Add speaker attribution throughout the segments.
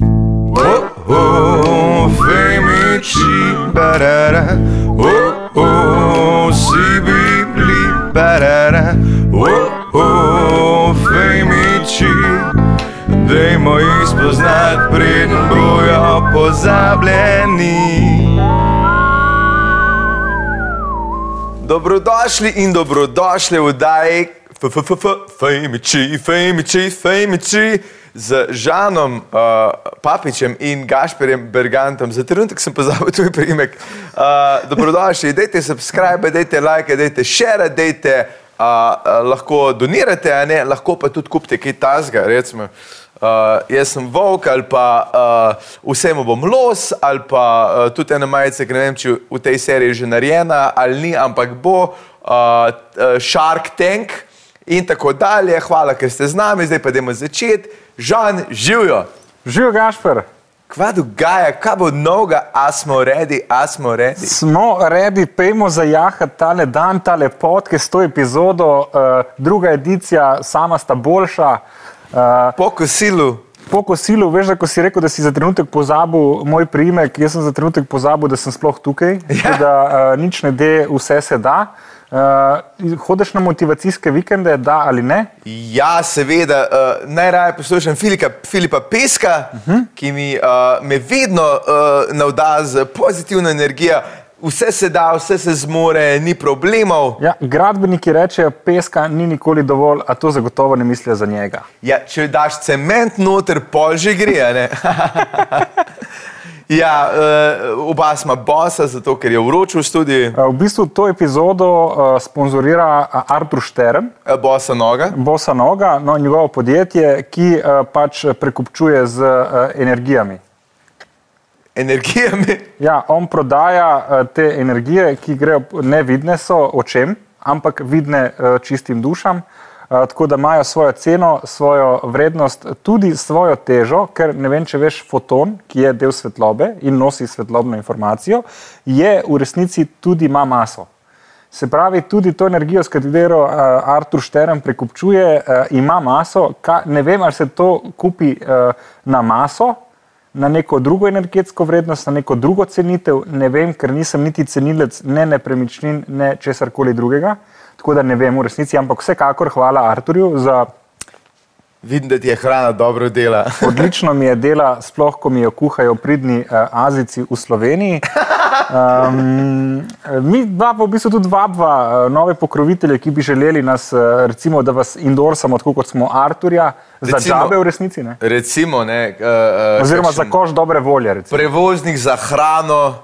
Speaker 1: Oh, she barara e oh oh si bi bli barara oh oh femiči dajmo jih spoznat preden bojo pozabljeni Dobrodošli in dobrodošli v oddaji Femiči, Femiči, Femiči z Žanom uh, Papičem in Gašperjem Bergantom. Za trenutek sem pozabil tvoj primek. Uh, dobrodošli, dajte subscribe, dajte like, dajte share, dajte, uh, uh, lahko donirate, a ne, lahko pa tudi kupite kaj tasga, recimo. Uh, jaz sem volk ali pa uh, vsemu bom los ali pa uh, tudi ena majica, ki ne vem, če v tej seriji že narejena ali ni, ampak bo uh, uh, Shark Tank in tako dalje. Hvala, ker ste z nami, zdaj pa dajmo začeti. Žan, živijo!
Speaker 2: Živijo Gašpr,
Speaker 1: Kva dogaja, kaj bo novega, a smo redi, a smo redi.
Speaker 2: smo redi, pejmo zajahati tale dan, tale podcast, to epizodo, uh, druga edicija, sama sta boljša. Uh,
Speaker 1: Po kosilu,
Speaker 2: po kosilu, veš, da ko si rekel, da si za trenutek pozabil moj priimek, jaz sem za trenutek pozabil, da sem sploh tukaj, ja. da uh, nič ne de, vse se da. Uh, hodeš na motivacijske vikende, da ali ne?
Speaker 1: ja, seveda, uh, najraje poslušam Filika, Filipa Peska, uh -huh. ki mi, uh, me vedno uh, navda z pozitivno energijo. Vse se da, vse se zmore, ni problemov.
Speaker 2: Ja, gradbeniki rečejo, peska ni nikoli dovolj, a to zagotovo ne mislijo za njega.
Speaker 1: Ja, če daš cement noter, pol že gre. a ne? ja, uh, oba smo bosa, zato ker je vroče v studiu,
Speaker 2: Eh, V bistvu to epizodo uh, sponzorira uh, Artur Štern,
Speaker 1: uh, bosa noga.
Speaker 2: Bosa Noga, no, njegovo podjetje, ki uh, pač prekupčuje z uh, energijami.
Speaker 1: energijami.
Speaker 2: Ja, on prodaja uh, te energije, ki grejo, nevidne so očem, ampak vidne uh, čistim dušam. Uh, tako da imajo svojo ceno, svojo vrednost, tudi svojo težo, ker ne vem, če veš, foton, ki je del svetlobe in nosi svetlobno informacijo, je v resnici tudi ima maso. Se pravi, tudi to energijo, s katero uh, Artur Štern prekupčuje, uh, ima maso. Ka, ne vem, ali se to kupi uh, na maso, na neko drugo energetsko vrednost, na neko drugo cenitev. Ne vem, ker nisem niti cenilec ne nepremičnin, ne česar koli drugega. Tako da ne vem v resnici, ampak vsekakor hvala Arturju za
Speaker 1: Vidim, da ti je hrana dobro dela.
Speaker 2: odlično mi je dela, sploh ko mi jo kuhajo pridni uh, Azici v Sloveniji. Um, mi dva pa v bistvu tudi vabva uh, nove pokrovitelje, ki bi želeli nas, uh, recimo, da vas indorsamo, tako kot smo Arturja, za
Speaker 1: Recimo-
Speaker 2: džabe v resnici. Ne?
Speaker 1: Recimo, ne, uh,
Speaker 2: Oziroma za koš dobre volje. Recimo.
Speaker 1: Prevoznik za hrano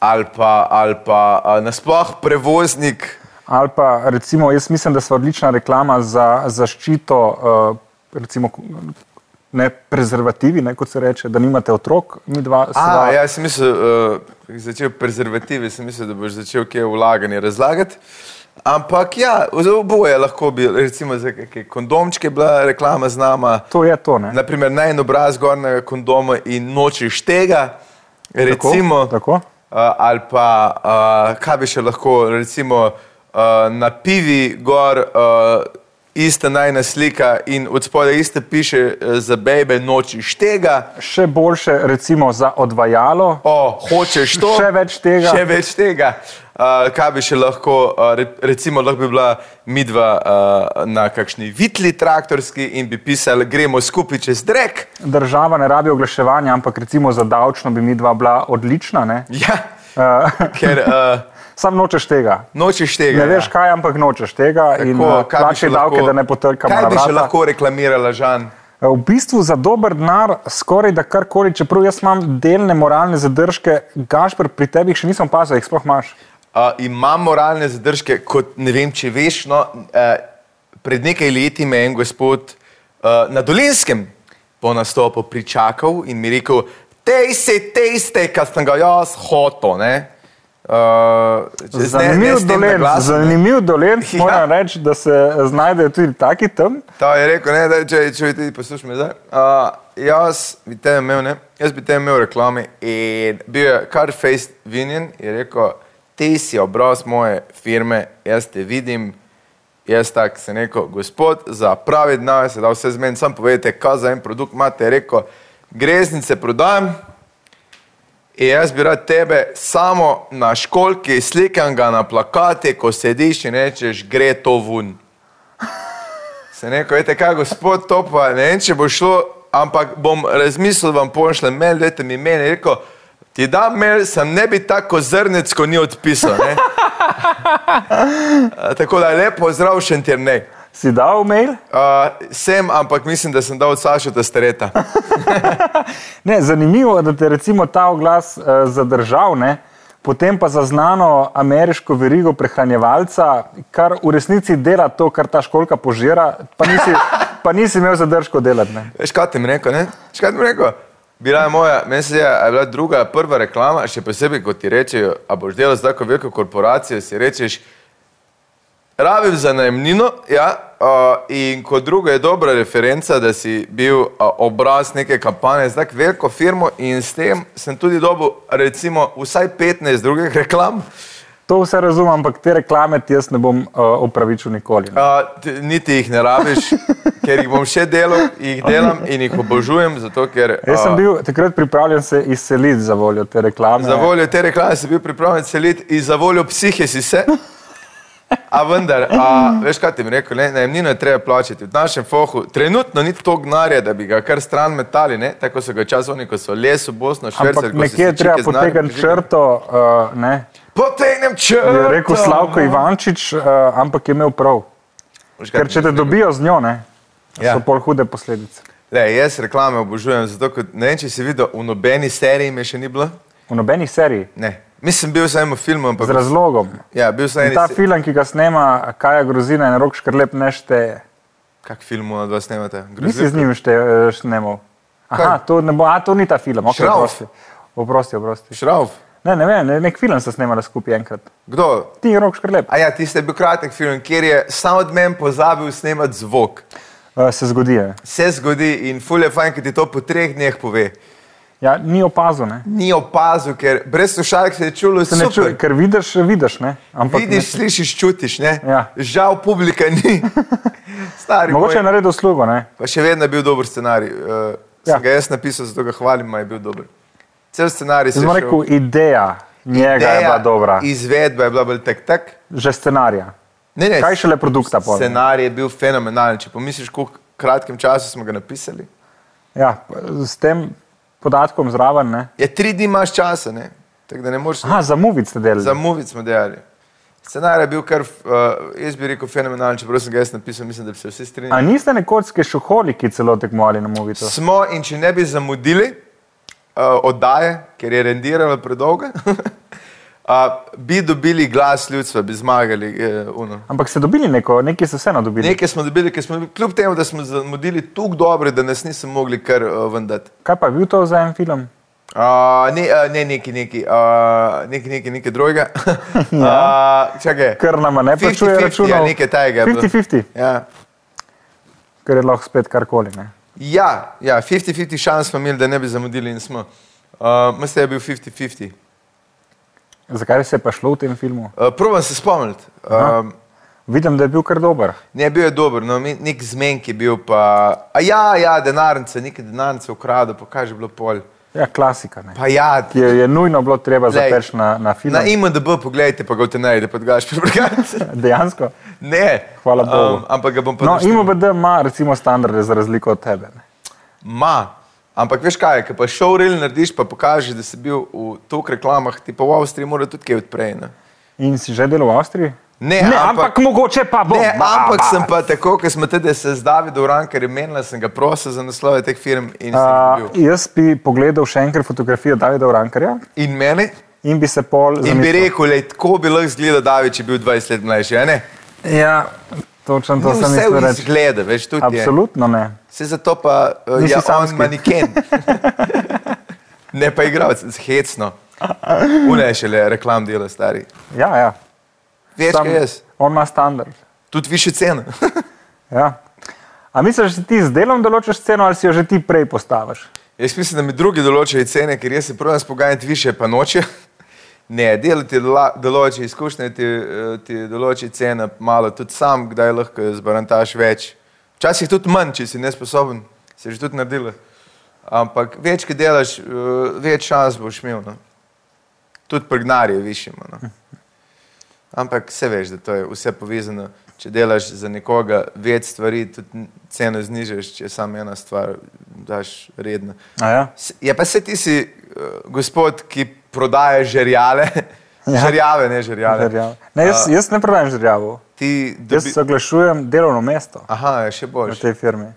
Speaker 1: ali pa, ali pa uh, nasploh prevoznik.
Speaker 2: Ali pa recimo, jaz mislim, da smo odlična reklama za zaščito, uh, recimo, ne prezervativi, ne, kot se reče, da nimate otrok, mi dva sva-
Speaker 1: A, ja, sem mislil, uh, začel prezervative, sem mislil, da boš začel kje vlaganje razlagati. Ampak ja, za oboje lahko bi, recimo, za kakšne kondomčke bila reklama z nama.
Speaker 2: To je to. Ne?
Speaker 1: Naprimer, naj en obraz gornega kondoma in nočeš tega, recimo.
Speaker 2: tako.
Speaker 1: Uh, ali pa uh, kaj bi še lahko, recimo uh, na pivi gor. Uh, Ista najna slika in od spodaj iste piše eh, za bebe nočiš tega,
Speaker 2: Še boljše, recimo, za odvajalo.
Speaker 1: o, hočeš to.
Speaker 2: Še več tega.
Speaker 1: Še več tega. Uh, kaj bi še lahko, uh, re, recimo, lahko bi bila midva uh, na kakšni vitli traktorski in bi pisali, gremo skupaj čez drek.
Speaker 2: Država ne rabi oglaševanja, ampak recimo za davčno bi mi dva bila odlična. Ne?
Speaker 1: Ja,
Speaker 2: Uh,
Speaker 1: ker uh,
Speaker 2: sam nočeš tega.
Speaker 1: nočeš tega.
Speaker 2: Ne veš kaj, ampak nočeš tega Tako, in
Speaker 1: kaj
Speaker 2: uh,
Speaker 1: bi še
Speaker 2: plačaj davke, da ne potrkamo
Speaker 1: Kaj
Speaker 2: na
Speaker 1: bi še
Speaker 2: vrata.
Speaker 1: lahko reklamirala, Žan?
Speaker 2: V bistvu za dober denar skoraj da karkoli, čeprav jaz imam delne moralne zadržke, Gašpr, pri tebi jih še nisem opazil, jih sploh imaš.
Speaker 1: Uh, imam moralne zadržke, kot ne vem, če veš. No, uh, pred nekaj leti me je en gospod uh, na Dolenskem po nastopu pričakal in mi rekel, tej se, tej ste, kar sem ga jaz hotel. ne." Uh, če- ne- ne
Speaker 2: Zanimiv
Speaker 1: s tem na
Speaker 2: dolenc,
Speaker 1: glas, ne.
Speaker 2: zanimiv dolenc,
Speaker 1: Ja.
Speaker 2: moram reči, da se eh, znajdejo tudi taki tam.
Speaker 1: Ta je rekel, ne, da, če, če bi ti poslušal nazaj. Uh, jaz bi te imel, ne, jaz bi te imel reklame in bil je kar face vinjen in je rekel, ti si obraz moje firme, jaz te vidim. Jaz tak sem rekel, gospod, za pravi denar se da vse zmeni, sam povejte, kaj za en produkt imate. Je rekel, greznice prodajam In jaz bi rad tebe samo na školki, slikam ga na plakate, ko sediš in rečeš, gre to vun. Se neko, veste kaj, gospod, to pa ne vem, če bo šlo, ampak bom razmislil, vam pošljem mail, dajte mi mail. In rekel, ti da mail, sem ne bi tako zrnec, ko ni odpisal. ne." A, tako da lepo zdrav še ti ne.
Speaker 2: Si dal mail?
Speaker 1: Uh, sem, ampak mislim, da sem dal od Saša Testereta.
Speaker 2: Ne, zanimivo je, da te je recimo ta oglas uh, zadržal, ne? potem pa zaznano ameriško verigo prehranjevalca, kar v resnici dela to, kar ta školka požira, pa nisi, pa nisi imel zadržko delati. Ne?
Speaker 1: Veš, kaj ti mi rekel, ne? Veš, kaj ti mi rekel? Bila je moja, meni se je, a je bila druga, prva reklama, še posebej, ko ti rečejo, a boš delal za tako veliko korporacijo, si rečeš, rabim za najemnino, ja, uh, in kot druga je dobra referenca, da si bil uh, obraz neke kampanje za tako veliko firmo in s tem sem tudi dobil, recimo, vsaj 15 drugih reklam.
Speaker 2: To vse razumem, ampak te reklame ti jaz ne bom uh, opravičil nikoli. Ne?
Speaker 1: Uh, t- niti jih ne rabiš, ker jih bom še delal, jih delam in jih obožujem, zato ker...
Speaker 2: Jaz sem
Speaker 1: a,
Speaker 2: bil takrat pripravljen se izseliti za voljo te reklame.
Speaker 1: Za voljo te reklame si bil pripravljen celiti in za voljo psihe si se. A vendar, a, veš kaj ti mi rekel, ne, najemnino je treba plačati. V našem fohu trenutno ni to gnare, da bi ga kar stran metali, ne? tako so ga čas oni, ko so les v Bosno, švrcali.
Speaker 2: Ampak nekje je treba potegniti črto, uh, ne,
Speaker 1: Potegnem črto!
Speaker 2: je rekel Slavko Ivančič, uh, ampak je imel prav.
Speaker 1: Veš kaj
Speaker 2: Ker
Speaker 1: ti
Speaker 2: če te
Speaker 1: mi rekel?
Speaker 2: dobijo z njo, ne,
Speaker 1: Ja.
Speaker 2: ja. so pol hude posledice.
Speaker 1: Le, jaz reklame obožujem, zato ker ne vem, če si videl, v nobeni seriji me še ni bilo.
Speaker 2: V nobenih seriji,
Speaker 1: Ne. Mislim, bil sem v filmu,
Speaker 2: z
Speaker 1: ampak...
Speaker 2: razlogom.
Speaker 1: Ja, bil sem
Speaker 2: In
Speaker 1: eni...
Speaker 2: ta
Speaker 1: se-
Speaker 2: film, ki ga snema Kaja Grozina in Rok Škrlep, ne šteje.
Speaker 1: Kak film na dva snemate?
Speaker 2: Nisi z njim šteje, šnemal. Aha,
Speaker 1: Kaj?
Speaker 2: to, ne bo, a, to ni ta film, ok,
Speaker 1: Šrauf.
Speaker 2: oprosti. Oprosti, oprosti.
Speaker 1: Šrauf.
Speaker 2: Ne, ne vem, ne- nek film sta snemala skupaj enkrat.
Speaker 1: Kdo?
Speaker 2: Ti in Rok Škrlep.
Speaker 1: A ja, tisti je bil kratek film, kjer je sam od meni pozabil snemati zvok.
Speaker 2: Uh, se zgodi. je.
Speaker 1: Se zgodi in ful je fajn, ki ti to po treh dneh pove.
Speaker 2: Ja, ni opazil, ne.
Speaker 1: Ni opazil, ker brez slušalk se je čulo
Speaker 2: Se ne čuje,
Speaker 1: super.
Speaker 2: ker vidiš, vidiš, ne. Ampak
Speaker 1: Vidiš,
Speaker 2: ne,
Speaker 1: slišiš, čutiš, ne?
Speaker 2: Ja.
Speaker 1: Žal publika ni. Stari
Speaker 2: mogoče je
Speaker 1: moj.
Speaker 2: naredil slugo, ne.
Speaker 1: Pa še vedno je bil dober scenarij. Uh, ja.
Speaker 2: Ja.
Speaker 1: Sem ga jaz napisal, zato ga hvalim, a je bil dober. Cel scenarij se
Speaker 2: Jaz sem
Speaker 1: je ja,
Speaker 2: rekel, ideja njega ideja je bila dobra, iz...
Speaker 1: Izvedba je bila bolj tak tak.
Speaker 2: že scenarija.
Speaker 1: Ne, ne,
Speaker 2: Kaj šele produkta pol.
Speaker 1: Scenarij je bil fenomenalen. Če pomisliš, koliko kratkem času smo ga napisali.
Speaker 2: Ja, s tem podatkom zraven. Ne?
Speaker 1: Je tri dni imaš časa, ne? tako da ne moreš.
Speaker 2: Aha, za muvic ste delali.
Speaker 1: Za muvic smo delali. Scenarij je bil kar, uh, jaz bi rekel, fenomenalen, čeprav sem ga jaz napisal, mislim, da bi se vsi
Speaker 2: A
Speaker 1: strinjali.
Speaker 2: niste nekoč s šoholiki celo tekmovali na muvicu?
Speaker 1: Smo in če ne bi zamudili uh, oddaje, ker je rendirala predolga, uh, bi dobili glas ljudstva, bi zmagali. Uh, uno.
Speaker 2: Ampak ste dobili neko, neki ste vseeno dobili. Nek...
Speaker 1: Nekaj smo dobili, ker smo bili, kljub temu, da smo zamudili tako dobro, da nas niso mogli kar uh, vendati.
Speaker 2: Kaj pa je bil to za en film?
Speaker 1: Uh, ne, uh, ne, neki, neki, uh, neki, neki, neki drugega. ja. uh, čakaj.
Speaker 2: Ker nama ne
Speaker 1: 50-50,
Speaker 2: plačuje računov.
Speaker 1: Ja, nekaj tajega.
Speaker 2: 50-50,
Speaker 1: Ja.
Speaker 2: ker je lahko spet karkoli. Ne?
Speaker 1: Ja, ja, 50-50 šans smo imeli, da ne bi zamudili in smo. Uh, Mislim, da je bil 50-50.
Speaker 2: Zakaj se je pa šlo v tem filmu?
Speaker 1: Uh, Probam se spomniti. Um,
Speaker 2: Vidim, da je bil kar dober.
Speaker 1: ne, bil je dober, no, mi- nek zmenek je bil pa. A ja, ja, denarnice, nekaj denarnice ukradel, pa kaj je že bilo pol.
Speaker 2: Ja, klasika, ne?
Speaker 1: Pa ja,
Speaker 2: ki jo je nujno bilo treba
Speaker 1: Glej,
Speaker 2: zapeči na, na film.
Speaker 1: na IMDB pogledajte, pa ga v te najde, pa ga še prebrati.
Speaker 2: Dejansko.
Speaker 1: Ne,
Speaker 2: Hvala bogu.
Speaker 1: Em, ampak ga bom pa
Speaker 2: No,
Speaker 1: naštel.
Speaker 2: IMBD ima recimo standarde za razliko od tebe. Ne?
Speaker 1: Ma, ampak veš kaj, ki pa showreel narediš, pa pokažeš, da si bil v toliko reklamah, ti pa v Avstriji mora tudi kaj odprej. Ne,
Speaker 2: In si že delal v Avstriji?
Speaker 1: Ne, ampak-
Speaker 2: mogoče pa bo.
Speaker 1: ne
Speaker 2: Ba,
Speaker 1: ampak
Speaker 2: ba.
Speaker 1: sem pa tako, ker smo tudi se z Davidom Ranker imenila, sem ga prosil za naslove teh firm in sem
Speaker 2: A,
Speaker 1: uh, bil.
Speaker 2: jaz bi pogledal še enkrat fotografijo Davida Urankarja
Speaker 1: In meni,
Speaker 2: in bi se pol
Speaker 1: in bi
Speaker 2: zamislil.
Speaker 1: rekel, le, tako bi lahko izgledal David, če bi bil 20 let mlajši, a ne?
Speaker 2: Ja, točno to
Speaker 1: Ni
Speaker 2: sem
Speaker 1: vse
Speaker 2: mislil
Speaker 1: v
Speaker 2: reči.
Speaker 1: izgleda, veš, tudi je.
Speaker 2: Absolutno ne.
Speaker 1: Se zato pa uh,
Speaker 2: Nisi
Speaker 1: je on
Speaker 2: samski.
Speaker 1: maniken. ne pa igralec, hecno. Une še le reklam dela, stari.
Speaker 2: Ja, ja.
Speaker 1: Več
Speaker 2: Sam-
Speaker 1: kot jaz.
Speaker 2: On ima standard.
Speaker 1: Tudi više cene.
Speaker 2: Ja. A misliš, da si ti z delom določiš ceno ali si jo že ti prej postaviš?
Speaker 1: Jaz mislim, da mi drugi določajo cene, ker jaz se pravim spogajati više, pa noče. Ne, delati določi izkušnje, ti, eh, ti določi cena malo, tudi sam, kdaj lahko zbarantaš več. Včasih tudi manj, če si nesposoben, se že tudi naredila. Ampak več, ki delaš, eh, več šans boš imel. No. Tudi pri gnarju višimo. No. Ampak vse veš, da to je vse povezano. Če delaš za nekoga več stvari, tudi ceno znižaš, če samo ena stvar daš redno.
Speaker 2: A ja?
Speaker 1: S- Ja, pa se ti si eh, gospod, ki prodaja žerjale, ja. žerjave, ne žerjave.
Speaker 2: Žerjava. Ne, jaz,
Speaker 1: A,
Speaker 2: jaz ne prodajam žrljavo.
Speaker 1: ti
Speaker 2: Jaz
Speaker 1: dobi...
Speaker 2: oglašujem delovno mesto
Speaker 1: Aha, ja, še
Speaker 2: v
Speaker 1: boljše.
Speaker 2: tej firmi.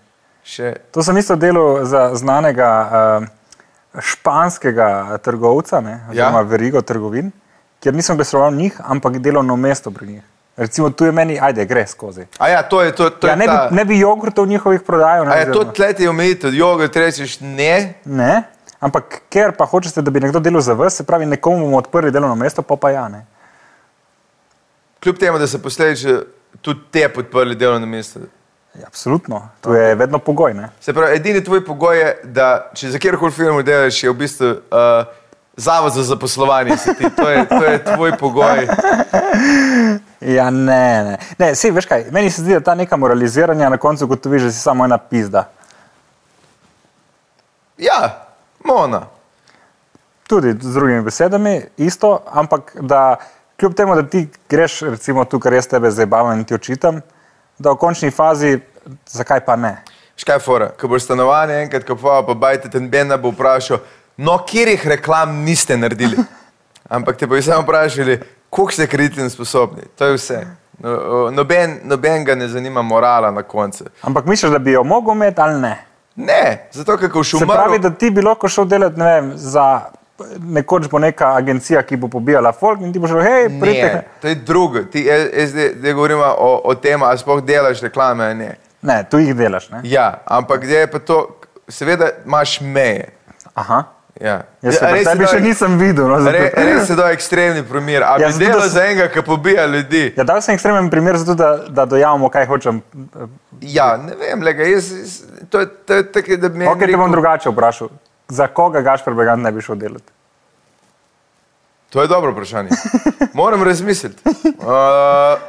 Speaker 1: Še...
Speaker 2: To sem isto delal za znanega uh, španskega trgovca, ne,
Speaker 1: Ja.
Speaker 2: oziroma ja. verigo trgovin, kjer nisem glasoval njih, ampak delovno mesto pri njih. Recimo, tu je meni, ajde, gre skozi.
Speaker 1: A ja, to je to. to
Speaker 2: Ja,
Speaker 1: je
Speaker 2: ne,
Speaker 1: ta...
Speaker 2: bi, ne no. bi jogurtov njihovih prodajal. Ne,
Speaker 1: A je to
Speaker 2: oziroma-
Speaker 1: tleti omejitev, jogurt rečeš ne,
Speaker 2: ne, ampak ker pa hočete, da bi nekdo delal za vas, se pravi, nekomu bomo odprli delovno mesto, pa pa ja ne.
Speaker 1: kljub temu, da so posledično tudi te podprli delovno mesto.
Speaker 2: Ja, absolutno, to je vedno pogoj. Ne.
Speaker 1: Se pravi, edini tvoj pogoj je, da če za kjerkoli firmo delaš, je v bistvu uh, zavod za zaposlovanje. si ti. To je, to je tvoj pogoj.
Speaker 2: Ja, ne, ne. ne sej, veš kaj, meni se zdi, da ta neka moraliziranja na koncu gotoviš, da si samo ena pizda.
Speaker 1: Ja, mona.
Speaker 2: Tudi z drugimi besedami, isto, ampak da kljub temu, da ti greš, recimo, tu, kar jaz tebe zabavam in ti očitam, da v končni fazi, zakaj pa ne?
Speaker 1: Škaj fora, ko boš stanovanje enkrat kupoval, pa bajte ten Bena bo vprašal, no, katerih reklam niste naredili. Ampak te bojo samo vprašali, koliko ste kreditno sposobni. To je vse. No, o, Noben, noben ga ne zanima morala na koncu.
Speaker 2: Ampak misliš, da bi jo mogel imeti ali ne?
Speaker 1: Ne, zato ker ko
Speaker 2: Se
Speaker 1: šumar.
Speaker 2: pravi, da ti bi lahko šel delati, ne vem, za nekoč bo neka agencija, ki bo pobijala folk in ti boš rekel, hej, pridite.
Speaker 1: Ne, to je drugo. Ti, jaz zdaj zdaj govorimo o, o tem, ali sploh delaš reklame ali ne.
Speaker 2: Ne, tu jih delaš, ne?
Speaker 1: Ja, ampak zdaj je pa to, seveda imaš meje.
Speaker 2: Aha.
Speaker 1: Ja.
Speaker 2: Jaz se
Speaker 1: Ja,
Speaker 2: ja,
Speaker 1: res je
Speaker 2: tebe
Speaker 1: to-
Speaker 2: še nisem videl. No, zato-
Speaker 1: Re, res je to ekstremni primer. A bi
Speaker 2: Ja,
Speaker 1: ja,
Speaker 2: zato, da
Speaker 1: delal
Speaker 2: s-
Speaker 1: za enega, ki pobija ljudi?
Speaker 2: Ja, dal sem ekstremen primer, zato da, da dojamemo, kaj hočem. eh,
Speaker 1: Ja, ne vem, lega, jaz, jaz, to je to je tako, da bi
Speaker 2: Ok, te bom drugače vprašal. Za koga Gašpor Begant ne bi šel delati?
Speaker 1: To je dobro vprašanje. Moram razmisliti. Uh,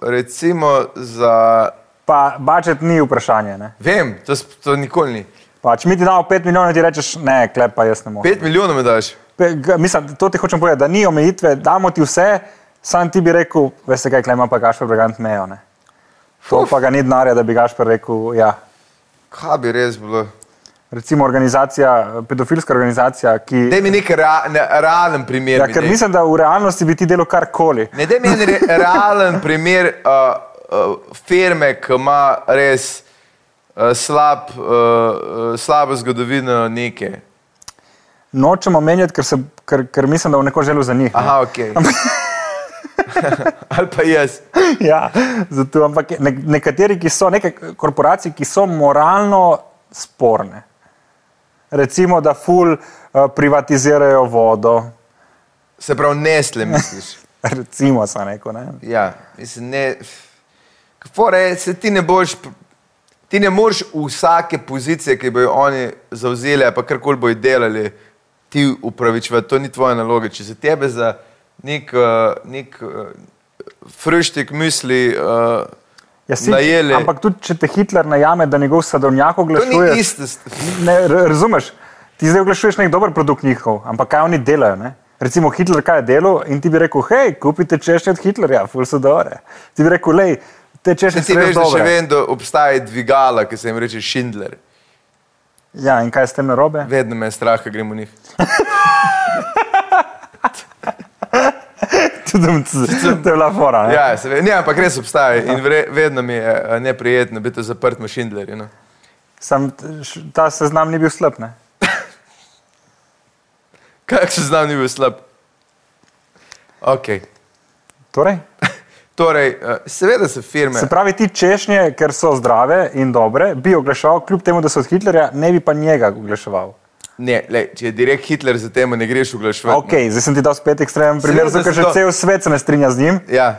Speaker 1: recimo za...
Speaker 2: Pa budžet ni vprašanje. Ne?
Speaker 1: Vem, to, s- to nikoli ni.
Speaker 2: Pač mi ti damo 5 milijonov in ti rečeš, ne, klep pa jaz ne morem.
Speaker 1: Pet milijonov mi daš.
Speaker 2: Pe- g- Mislim, to ti hočem povedati, da ni omejitve, damo ti vse, sam ti bi rekel, veste kaj, klep ima pa Gašpor Begant mejo. Ne? To
Speaker 1: Uf.
Speaker 2: pa ga ni denarja, da bi Gašpor rekel, ja.
Speaker 1: Kaj bi res bilo?
Speaker 2: Recimo organizacija, pedofilska organizacija, ki...
Speaker 1: Daj mi nek rea, ne, realen primer.
Speaker 2: Ja,
Speaker 1: mi
Speaker 2: ker
Speaker 1: daj.
Speaker 2: mislim, da v realnosti bi ti delal karkoli.
Speaker 1: Ne, da mi en re, realen primer uh, uh, firme, ki ima res uh, slab, uh, uh, slabo zgodovino neke.
Speaker 2: Nočem omenjati, ker, se- ker, ker mislim, da bo neko želel za njih. ne.
Speaker 1: Aha, ok. Ali pa jaz.
Speaker 2: ja, zato, ampak je- ne, nekateri, ki so, neke korporacije, ki so moralno sporne. Recimo, da ful uh, privatizirajo vodo.
Speaker 1: Se pravi, nesle misliš.
Speaker 2: Recimo, sem rekel. Ne?
Speaker 1: Ja, mislim, ne. Fore, se ti ne boš. p- Ti ne moreš vsake pozicije, ki bojo oni zauzeli, ali pa karkoli bojo delali, ti upravičevati. To ni tvoja naloga. Če se tebe za nek, eh, nek eh, fruštik misli uh,
Speaker 2: Ja, si-
Speaker 1: najeli,
Speaker 2: ampak tudi, če te Hitler najame, da njegov sadovnjak
Speaker 1: to ni
Speaker 2: oglašuje.
Speaker 1: isto. st-
Speaker 2: Ne, ra- razumeš? Ti zdaj oglašuješ nek dober produkt njihov, ampak kaj oni delajo? Ne? Recimo Hitler kaj je delal in ti bi rekel, hej, kupite češnje od Hitlerja, ful so dobre. Ti bi rekel, lej, te češnje
Speaker 1: Če ti
Speaker 2: so res
Speaker 1: veš, da še
Speaker 2: dobre.
Speaker 1: vedno obstaja dvigala, ki se jim reče Schindler.
Speaker 2: Ja, in kaj je s tem narobe?
Speaker 1: Vedno me je strah, ker gremo v njih.
Speaker 2: Tudum, tudum. To je bila fora. ne?
Speaker 1: Ja, seveda. Ne, ampak res obstaja in vre, vedno mi je eh, neprijetno biti zaprt v Schindlerju. No.
Speaker 2: Sam t- š- ta seznam ni bil slab. Ne?
Speaker 1: Kak se znam, ni bil slab. Okay.
Speaker 2: Torej,
Speaker 1: Torej, eh, seveda so firme.
Speaker 2: se pravi, ti češnje, ker so zdrave in dobre, bi oglaševal, kljub temu, da so od Hitlerja, ne bi pa njega oglaševal.
Speaker 1: Ne, lej, če je direkt Hitler za tem, ne greš oglaševati.
Speaker 2: Ok, zdaj sem ti dal spet ekstremen primer,
Speaker 1: Seveda
Speaker 2: zato ker
Speaker 1: so
Speaker 2: že
Speaker 1: to-
Speaker 2: cel svet se ne strinja z njim,
Speaker 1: No. Ja.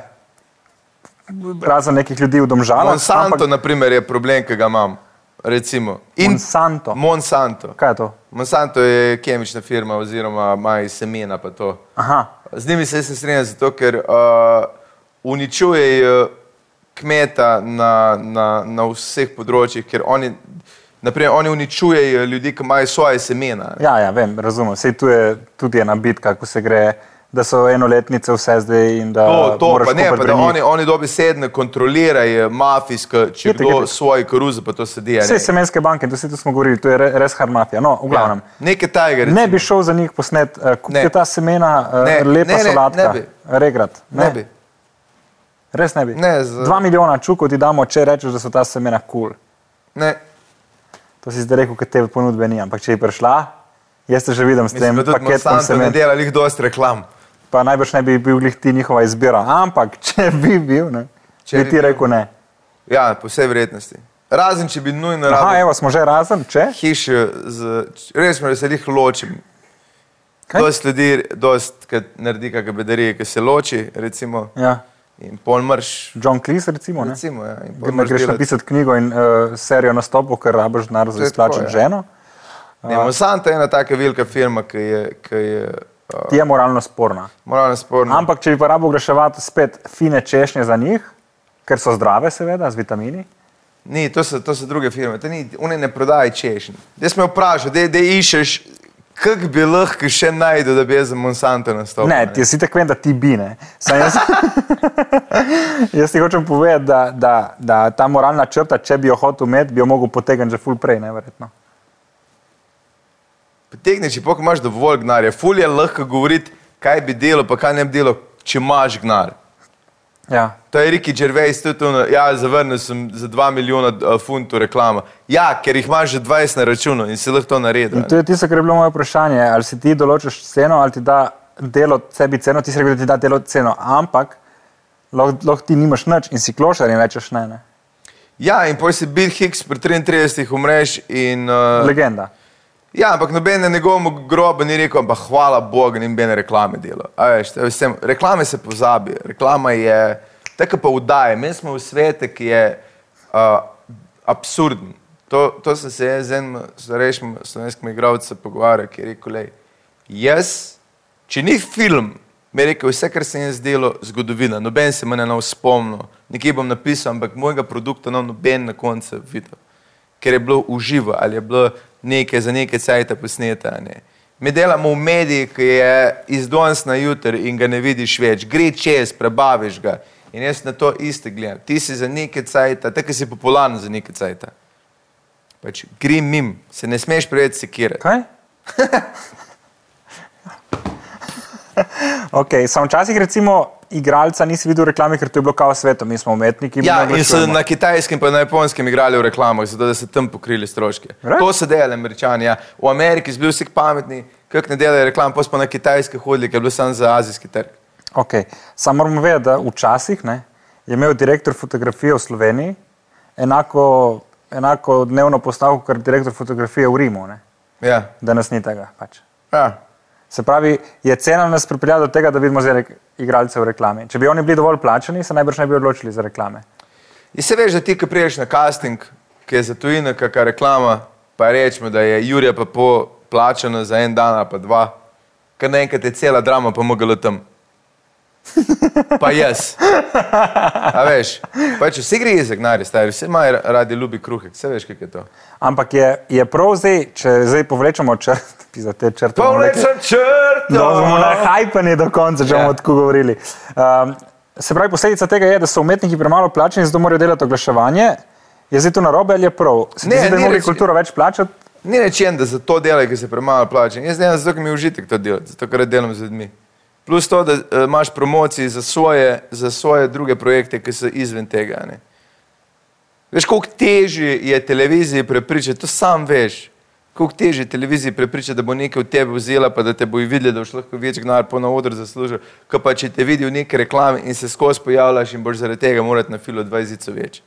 Speaker 2: razen nekih ljudi v domžalah.
Speaker 1: Monsanto,
Speaker 2: ampak-
Speaker 1: naprimer, je problem, ki ga imam. Recimo.
Speaker 2: Monsanto.
Speaker 1: Monsanto.
Speaker 2: Kaj je to?
Speaker 1: Monsanto je kemična firma oziroma ima iz semena pa to.
Speaker 2: Aha,
Speaker 1: Z njimi se jaz ne strinjam, zato ker uh, uničujejo kmeta na, na, na vseh področjih, ker oni, naprimer, oni uničujejo ljudi, ki imajo svoje semena.
Speaker 2: ja, ja vem, razumem. Sej tu je tudi ena bitka, ko se gre da so enoletnice vse zdaj in da
Speaker 1: To, to
Speaker 2: Eh, moraš
Speaker 1: pa ne,
Speaker 2: kupiti
Speaker 1: pa da
Speaker 2: pri njih.
Speaker 1: oni, oni dobesedno kontrolirajo eh, mafijsko, če
Speaker 2: Itak,
Speaker 1: kdo
Speaker 2: itak.
Speaker 1: svoje koruze, pa to se dija.
Speaker 2: Vse semenske banke, to se tu smo govorili, to je re- res hard mafija. No, v glavnem. Ja.
Speaker 1: Nekaj tajega.
Speaker 2: Ne bi šel za njih posnet, eh, kupite
Speaker 1: Ne.
Speaker 2: ta semena, eh,
Speaker 1: Ne,
Speaker 2: lepa
Speaker 1: ne, ne,
Speaker 2: solatka,
Speaker 1: ne bi.
Speaker 2: regrat.
Speaker 1: Ne bi.
Speaker 2: Res ne bi.
Speaker 1: Ne, z-
Speaker 2: Dva milijona čukov ti damo, če rečeš, da so ta semena kul. Cool.
Speaker 1: Ne.
Speaker 2: To si zdaj rekel, ker te ponudbe ni, ampak če bi prišla, jaz te že vidim s tem
Speaker 1: Mislim, da tudi
Speaker 2: paketom
Speaker 1: Monsanto ne
Speaker 2: semen.
Speaker 1: dela lih dosti reklam.
Speaker 2: Pa najbrž ne bi bil glih ti njihova izbira, ampak če bi bil, ne,
Speaker 1: Če
Speaker 2: če bi
Speaker 1: bi
Speaker 2: ti
Speaker 1: bil.
Speaker 2: rekel ne.
Speaker 1: Ja, po vsej verjetnosti. Razen, če bi nujno
Speaker 2: Aha,
Speaker 1: rabil
Speaker 2: evo, smo že razen, če?
Speaker 1: hiše, z, res me se jih ločim.
Speaker 2: Kaj?
Speaker 1: Dosti ljudi, dosti, ki naredi kakšne bedarije, ki se loči, recimo,
Speaker 2: Ja.
Speaker 1: in pol mrš.
Speaker 2: John Cleese, recimo. Ne?
Speaker 1: Recimo, ja, in pol
Speaker 2: Ne
Speaker 1: moraš
Speaker 2: greš
Speaker 1: delati.
Speaker 2: napisati knjigo in uh, serijo nastopov, ker rabiš denar za
Speaker 1: je tako,
Speaker 2: izplačati
Speaker 1: ja.
Speaker 2: ženo.
Speaker 1: Ne, Monsanto je ena taka velika firma, ki je, ki je uh,
Speaker 2: Ti je moralno sporna.
Speaker 1: moralno sporna.
Speaker 2: Ampak, če bi pa rabo greševati spet fine češnje za njih, ker so zdrave, seveda, z vitamini.
Speaker 1: Ni, to so, to so druge firme, to ni, one ne prodajajo češnje. Jaz me vprašam, da iščeš, kak bi lahko še najdel, da bi jaz za Monsanto nastopil.
Speaker 2: Ne, ti si tako vem, da ti bi ne. Sam jaz, jaz ti hočem povedati, da, da, da ta moralna črta, če bi jo hotel imeti, bi jo mogel potegniti že ful prej, neverjetno.
Speaker 1: Potegni, če pok imaš dovolj gnarja. Ful je lahko govoriti, kaj bi delo, pa kaj ne bi delo, če imaš gnar.
Speaker 2: Ja.
Speaker 1: To je Riki Gervais, tudi ono, ja, zavrnil sem za 2 milijona eh, funtov reklamo. Ja, ker jih imaš že 20 na računu in si lahko to naredil.
Speaker 2: In to je tisto, kar je bilo moje vprašanje. Ali si ti določiš ceno, ali ti da delo sebi ceno, ti si rekel, da ti da delo ceno, ampak lahko lah ti nimaš nič in si klošar in rečeš ne. ne.
Speaker 1: Ja, in poj si Bill Hicks pri 33 umreš in... Uh,
Speaker 2: Legenda.
Speaker 1: ja, ampak noben na njegovem grobu ni rekel, pa hvala Bogu, ni noben reklame delo. A Veš, to je vsem, reklame se pozabi, reklama je tako pa vdaje. Mi smo v svetu, ki je uh, absurden. To, to sem se jaz z enim starejšim slovenskim igralcem pogovarjal, ki je rekel, lej, jaz, če ni film, mi je rekel, vse, kar sem jaz delal, zgodovina, noben se me ne bo spomnil, nekje bom napisal, ampak mojega produkta ne bo noben na koncu videl ker je bilo uživo ali je bilo nekaj za nekaj cajta posneta. a Ne. Mi delamo v mediji, ki je iz danes na jutri in ga ne vidiš več, gre čez, prebaviš ga. In jaz na to isto gledam. Ti si za nekaj cajta, tako si popularen za nekaj cajta. Pač gre mim, se ne smeš preveč sekirati.
Speaker 2: Kaj? okay, sam včasih recimo igralca nisi videl v reklami, ker to je bilo kao sveto, mi smo umetniki. mi ne
Speaker 1: Ja, in so
Speaker 2: oglašujemo.
Speaker 1: na kitajskem in na japonskem igrali v reklamah, zato da so tam pokrili stroške.
Speaker 2: Res?
Speaker 1: To so delali američani. Ja. V Ameriki so bili vsi pametni, kak ne delajo reklam, pa so pa na kitajske hodili, ker je bilo samo za azijski trg.
Speaker 2: Okay. Sam moramo vedeti, da včasih ne, je imel direktor fotografije v Sloveniji enako, enako dnevno postavko, kot direktor fotografije v Rimu. Ne.
Speaker 1: Ja.
Speaker 2: Danes ni tega. Pač.
Speaker 1: Ja.
Speaker 2: Se pravi, je cena nas pripeljala do tega, da vidimo zdaj rek- igralce v reklami. Če bi oni bili dovolj plačani, se najbrž ne bi odločili za reklame.
Speaker 1: In se veš, da ti, ki priješ na casting, ki je za tujino, kakšna reklama, pa rečemo, da je Jurija pa po plačano za en dan ali pa dva, ker naenkrat je cela drama pomagala tam. Pa jaz. A veš, pač vsi gre za gnare, stari, vsi imajo ra- radi ljubi kruhek, vse veš, kaj je to.
Speaker 2: Ampak je, je prav zdaj, če zdaj povlečemo črt, za te črte. bomo rekli-
Speaker 1: Povlečem črto!
Speaker 2: Da bomo nahajpani do konca, če
Speaker 1: Ja.
Speaker 2: bomo tako govorili. Um, se pravi, posledica tega je, da so umetniki premalo plačeni, zato morajo delati oglaševanje. Je zdaj to narobe ali je prav? Se
Speaker 1: Ne,
Speaker 2: ne, zdi, da
Speaker 1: ni
Speaker 2: bi mogli
Speaker 1: reči-
Speaker 2: kulturo več plačati?
Speaker 1: Ni rečen, da za to delo, ki se premalo plača. Jaz delam zato, ker mi je užitek to delati, zato ker delam z ljudmi. Plus to, da eh, imaš promocije za svoje, za svoje druge projekte, ki so izven tega. a Ne. Veš, koliko težje je televiziji prepričati, to sam veš. Koliko težje je televiziji prepričati, da bo nekaj v tebi vzela, pa da te bo videla, da boš lahko več gnar po na odr zaslužil, kot pa če te vidi v neki reklami in se skozi pojavljaš in boš zaradi tega moral na filo 20 več.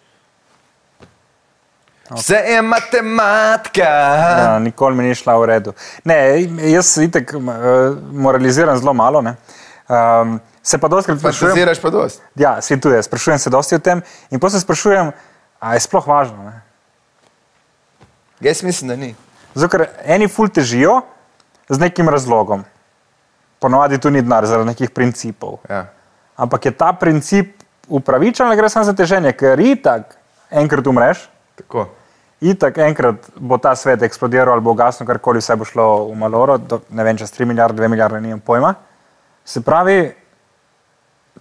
Speaker 1: Vse je matematika.
Speaker 2: Ja, nikoli mi ni šla v redu. Ne, jaz itek m, eh, moraliziram zelo malo. ne. Um, se pa dosti sprašujem,
Speaker 1: Fantaziraš pa dosti.
Speaker 2: ja, svetuje, sprašujem se dosti o tem in potem se sprašujem, a je sploh važno. Ne?
Speaker 1: Jaz mislim, da ni.
Speaker 2: Zato, ker eni ful težijo z nekim razlogom. Ponovadi tu ni denar, zaradi nekih principov.
Speaker 1: Ja.
Speaker 2: Ampak je ta princip upravičen, ali gre samo za teženje, ker itak enkrat umreš,
Speaker 1: Tako.
Speaker 2: itak enkrat bo ta svet eksplodiral ali bo gasno, karkoli vse bo šlo v maloro, do, ne vem, čez 3 milijarde, 2 milijarde, nimam pojma. Se pravi,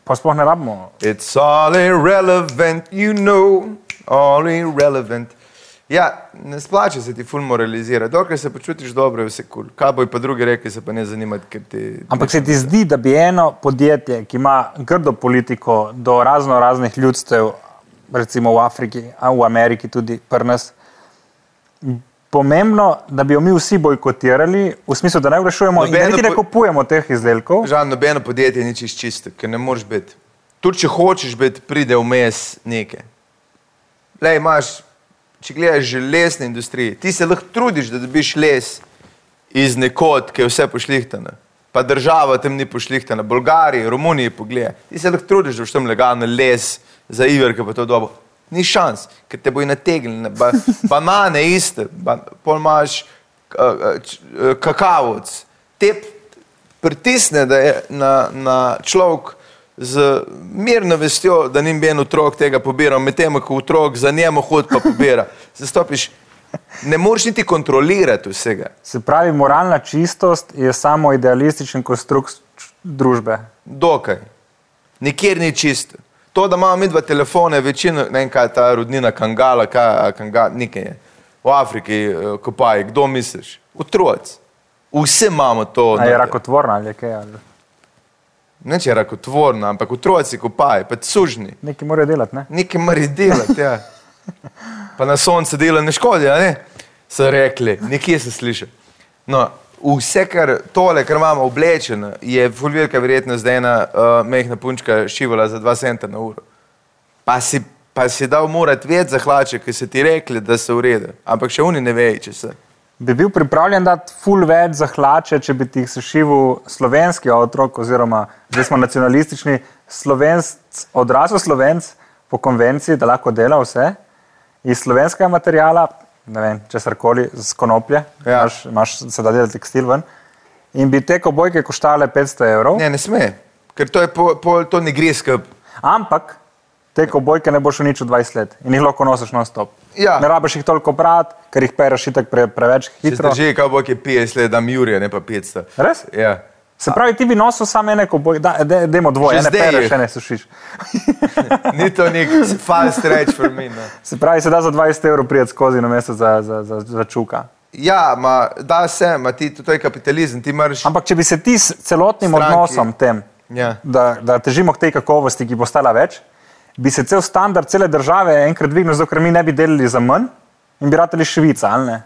Speaker 2: pa sploh ne rabimo.
Speaker 1: It's all irrelevant, you know, all irrelevant. Ja, ne splača se ti ful moralizirati, dokler se počutiš dobro, je vse kul. Cool. Kaj bojo pa drugi rekli, se pa ne zanimati, ker ti.
Speaker 2: Ampak se ti zdi, da bi eno podjetje, ki ima grdo politiko do razno raznih ljudstev, recimo v Afriki, a v Ameriki tudi pri nas, pomembno, da bi jo mi vsi bojkotirali, v smislu, da ne oglašujemo in da
Speaker 1: Nobeno
Speaker 2: niti ne
Speaker 1: po-
Speaker 2: kupujemo teh izdelkov.
Speaker 1: Žal, nobeno podjetje ni čist čisto, ker ne moreš biti. Tudi če hočeš biti, pride vmes nekaj. Lej, imaš, če gledaš že lesne industrije, ti se lahko trudiš, da dobiš les iz nekod, ki je vse pošlihtano. Pa država tam ni pošlihtana, Bolgariji, Romuniji, pogled. Ti se lahko trudiš, da boš tam legalno les za Iver, ki pa to dobo. Ni šans, ker te bojo nategnili, ba, banane iste, ba, pol imaš uh, uh, č- uh, kakavc. Te pritisne da je na, na človek z mirno vestjo, da ni en otrok tega pobiral, medtem ko otrok za njem hod pa pobira. Zastopiš, ne moreš niti kontrolirati vsega.
Speaker 2: Se pravi, moralna čistost je samo idealističen konstrukt družbe.
Speaker 1: Dokaj. Nikjer ni čisto. To, da imamo mi dva telefone, večino, ne vem kaj je ta rodnina Kangala, kaj Kangala, nekaj je. V Afriki eh, kopaji, kdo misliš? Otroc. Vsi imamo to.
Speaker 2: A je
Speaker 1: noter.
Speaker 2: rakotvorna ali je kaj? Ali?
Speaker 1: Ne če je rakotvorna, ampak otroci kopaji, pa sužni.
Speaker 2: Nekaj morajo delati, ne?
Speaker 1: Nekaj mora delati, ja. pa na soncu dela ne škodi, a ne? so rekli, nekje se sliši. No, vse, kar tole, kar imamo oblečeno, je fulvirka verjetnost, da je ena uh, mehna punčka šivala za 2 centa na uro. Pa si, pa si dal morati več za hlače, ker so ti rekli, da so v redu, ampak še oni ne vejo, če se.
Speaker 2: Bi bil pripravljen dati full več za hlače, če bi ti jih sešivil slovenski otrok, oziroma zdaj smo nacionalistični, slovenc, odrasel slovenc po konvenciji, da lahko dela vse iz slovenskega materijala, ne vem, česar koli, z konoplje,
Speaker 1: Ja.
Speaker 2: imaš, imaš sedaj delati tekstil ven. In bi te kobojke koštale 500 evrov, ne.
Speaker 1: Ne, ne sme, ker to, je po, po, to ne gre skupaj.
Speaker 2: ampak te kobojke ne boš uničil 20 let in jih lahko nosiš non-stop.
Speaker 1: Ja.
Speaker 2: Ne rabiš jih toliko brati, ker jih pereš itak pre, preveč
Speaker 1: Če
Speaker 2: hitro.
Speaker 1: že kaj bo, ki je 50 let, da mi Jurija, ne pa 500.
Speaker 2: Res?
Speaker 1: Ja.
Speaker 2: Se pravi, ti bi nosil samo ene koboje, da de, demo dvoje,
Speaker 1: Že
Speaker 2: ene
Speaker 1: zdaj
Speaker 2: pere,
Speaker 1: je.
Speaker 2: še ne sušiš.
Speaker 1: Ni to nek fast reč for me. No.
Speaker 2: Se pravi, se da za 20 evrov prijeti skozi na mesto za, za, za, za čuka.
Speaker 1: Ja, ma, da se, ma ti, to, to je kapitalizem, ti moraš.
Speaker 2: Ampak če bi se ti s celotnim
Speaker 1: Stranki.
Speaker 2: Stranki. odnosom tem,
Speaker 1: Ja.
Speaker 2: da, da težimo k tej kakovosti, ki bo stala več, bi se cel standard cele države enkrat dvignil, zato ker mi ne bi delali za manj in bi ratali Švica, ali ne?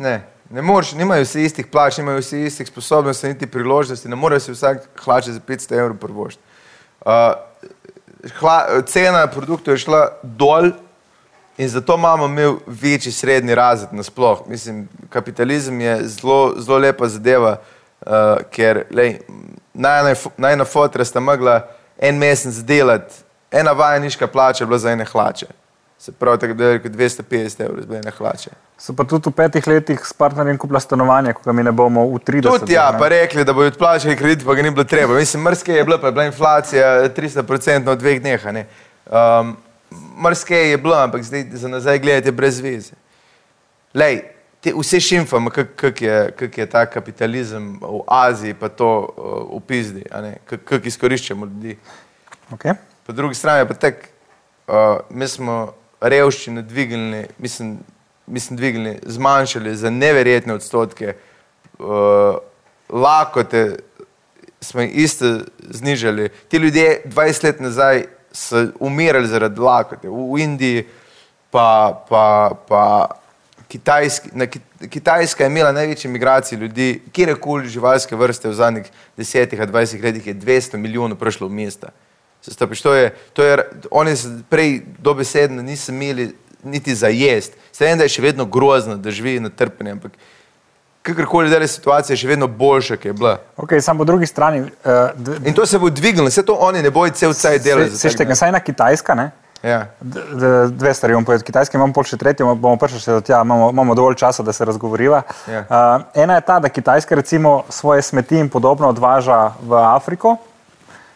Speaker 1: Ne, ne moreš, nimajo vsi istih plač, nimajo vsi istih sposobnosti, niti priložnosti, ne morejo si vsak hlače za 500 evrov prvošt. Uh, hla, cena produktov je šla dol in zato imamo mi večji srednji razred nasploh. Mislim, kapitalizem je zelo, zelo lepa zadeva, uh, ker lej, najna, fo- najna fotra sta mogla en mesec delati, ena vajeniška plača je bila za ene hlače. Se pravi, tako da je rekel 250 evrov za ene hlače.
Speaker 2: So pa tudi v petih letih s partnerjem kupila stanovanje, ko ga mi ne bomo v 30
Speaker 1: Tudi ja,
Speaker 2: ne?
Speaker 1: pa rekli, da bodo odplačali kredit, pa ga ni bilo treba. Mislim, mrske je bilo, pa je bila inflacija 300% v dveh dneh. a ne. Um, mrske je bilo, ampak zdaj za nazaj gledate brez veze. Lej, te, vse šimfamo, kako je, kak je ta kapitalizem v Aziji, pa to uh, v Pizdi, kako izkoriščamo ljudi.
Speaker 2: okay.
Speaker 1: Po drugi strani je pa tek, uh, mi smo revščino dvignili, mislim, mislim dvignili, zmanjšali za neverjetne odstotke, uh, lakote smo iste znižali. Ti ljudje 20 let nazaj so umirali zaradi lakote. V, v Indiji pa, pa, pa Kitajski, na, Ki- Kitajska je imela največje migracije ljudi, kjerkoli živalske vrste v zadnjih desetih, a dvajsetih letih je 200 milijonov prišlo v mesta. Se Stopiš, to je, to je, oni se prej dobesedno niso imeli niti za jesti. Se vem, da je še vedno grozno, da živi na trpljenju, ampak kakorkoli da je situacija, je še vedno boljša, kot je bila.
Speaker 2: okay, samo po drugi strani, eh, dve-
Speaker 1: In to se bo dvignilo, vse to oni ne bojo cel cel delali. za
Speaker 2: se, se
Speaker 1: tak
Speaker 2: štekam,
Speaker 1: denar.
Speaker 2: saj na Kitajska, ne?
Speaker 1: Ja.
Speaker 2: D- d- Dve stvari bom povedal, kitajski imamo pol še tretjo, bomo prišli še do tja, imamo, imamo dovolj časa, da se razgovoriva.
Speaker 1: Ja.
Speaker 2: Uh, ena je ta, da Kitajska recimo svoje smeti in podobno odvaža v Afriko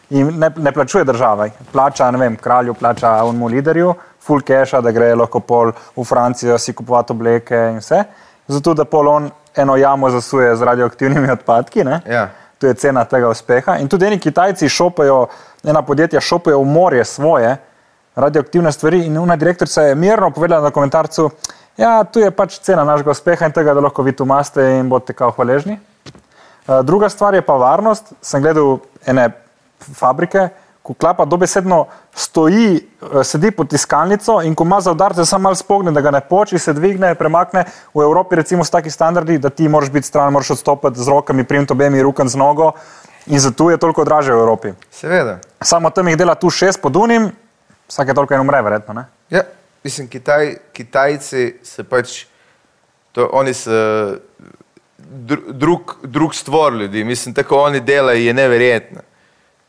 Speaker 2: in ne, ne plačuje države. Plača, ne vem, kralju, plača onmu liderju, full cache, da gre lahko pol v Francijo si kupovati obleke in vse, zato da pol on eno jamo zasuje z radioaktivnimi odpadki. ne?
Speaker 1: Ja.
Speaker 2: To je cena tega uspeha. In tudi eni Kitajci šopajo, ena podjetja šopajo v morje svoje radioaktivne stvari in una direktorica je mirno povedala na komentarcu, ja, tu je pač cena našega uspeha in tega, da lahko vi tu maste in bodite kao hvaležni. Eh, Druga stvar je pa varnost. Sem gledal ene fabrike, ko klapa dobesedno stoji, eh, sedi pod tiskalnico in ko ima za udarce, samo malo spogne, da ga ne poči, se dvigne, premakne. V Evropi recimo so taki standardi, da ti moraš biti stran, moraš odstopiti z rokami, primt obemi rokam z nogo in zato je toliko draže v Evropi.
Speaker 1: Seveda.
Speaker 2: Samo tam jih dela tu šest pod unim, vsake toliko en umre, verjetno. Ne?
Speaker 1: Ja, mislim, Kitaj, Kitajci se pač, to, oni so dru- drug, drug stvor ljudi, mislim, tako oni delajo, je neverjetno.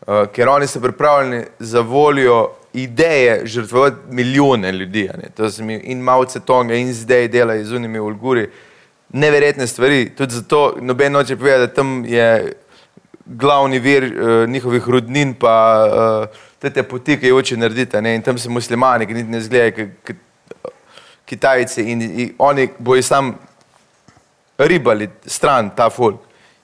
Speaker 1: Uh, ker oni so pripravljeni za voljo ideje žrtvovati milijone ljudi. a ne. To se mi in Mao Cetonga in zdaj delajo z unimi Ulguri. Neverjetne stvari, tudi zato noben noče povedati, da tam je glavni vir uh, njihovih rudnin, pa uh, te, te poti, ki jih hoče narediti. a Ne? In tam so muslimani, ki niti ne zgledajo, ki Kitajci in, in oni bojo sam ribali stran ta folk.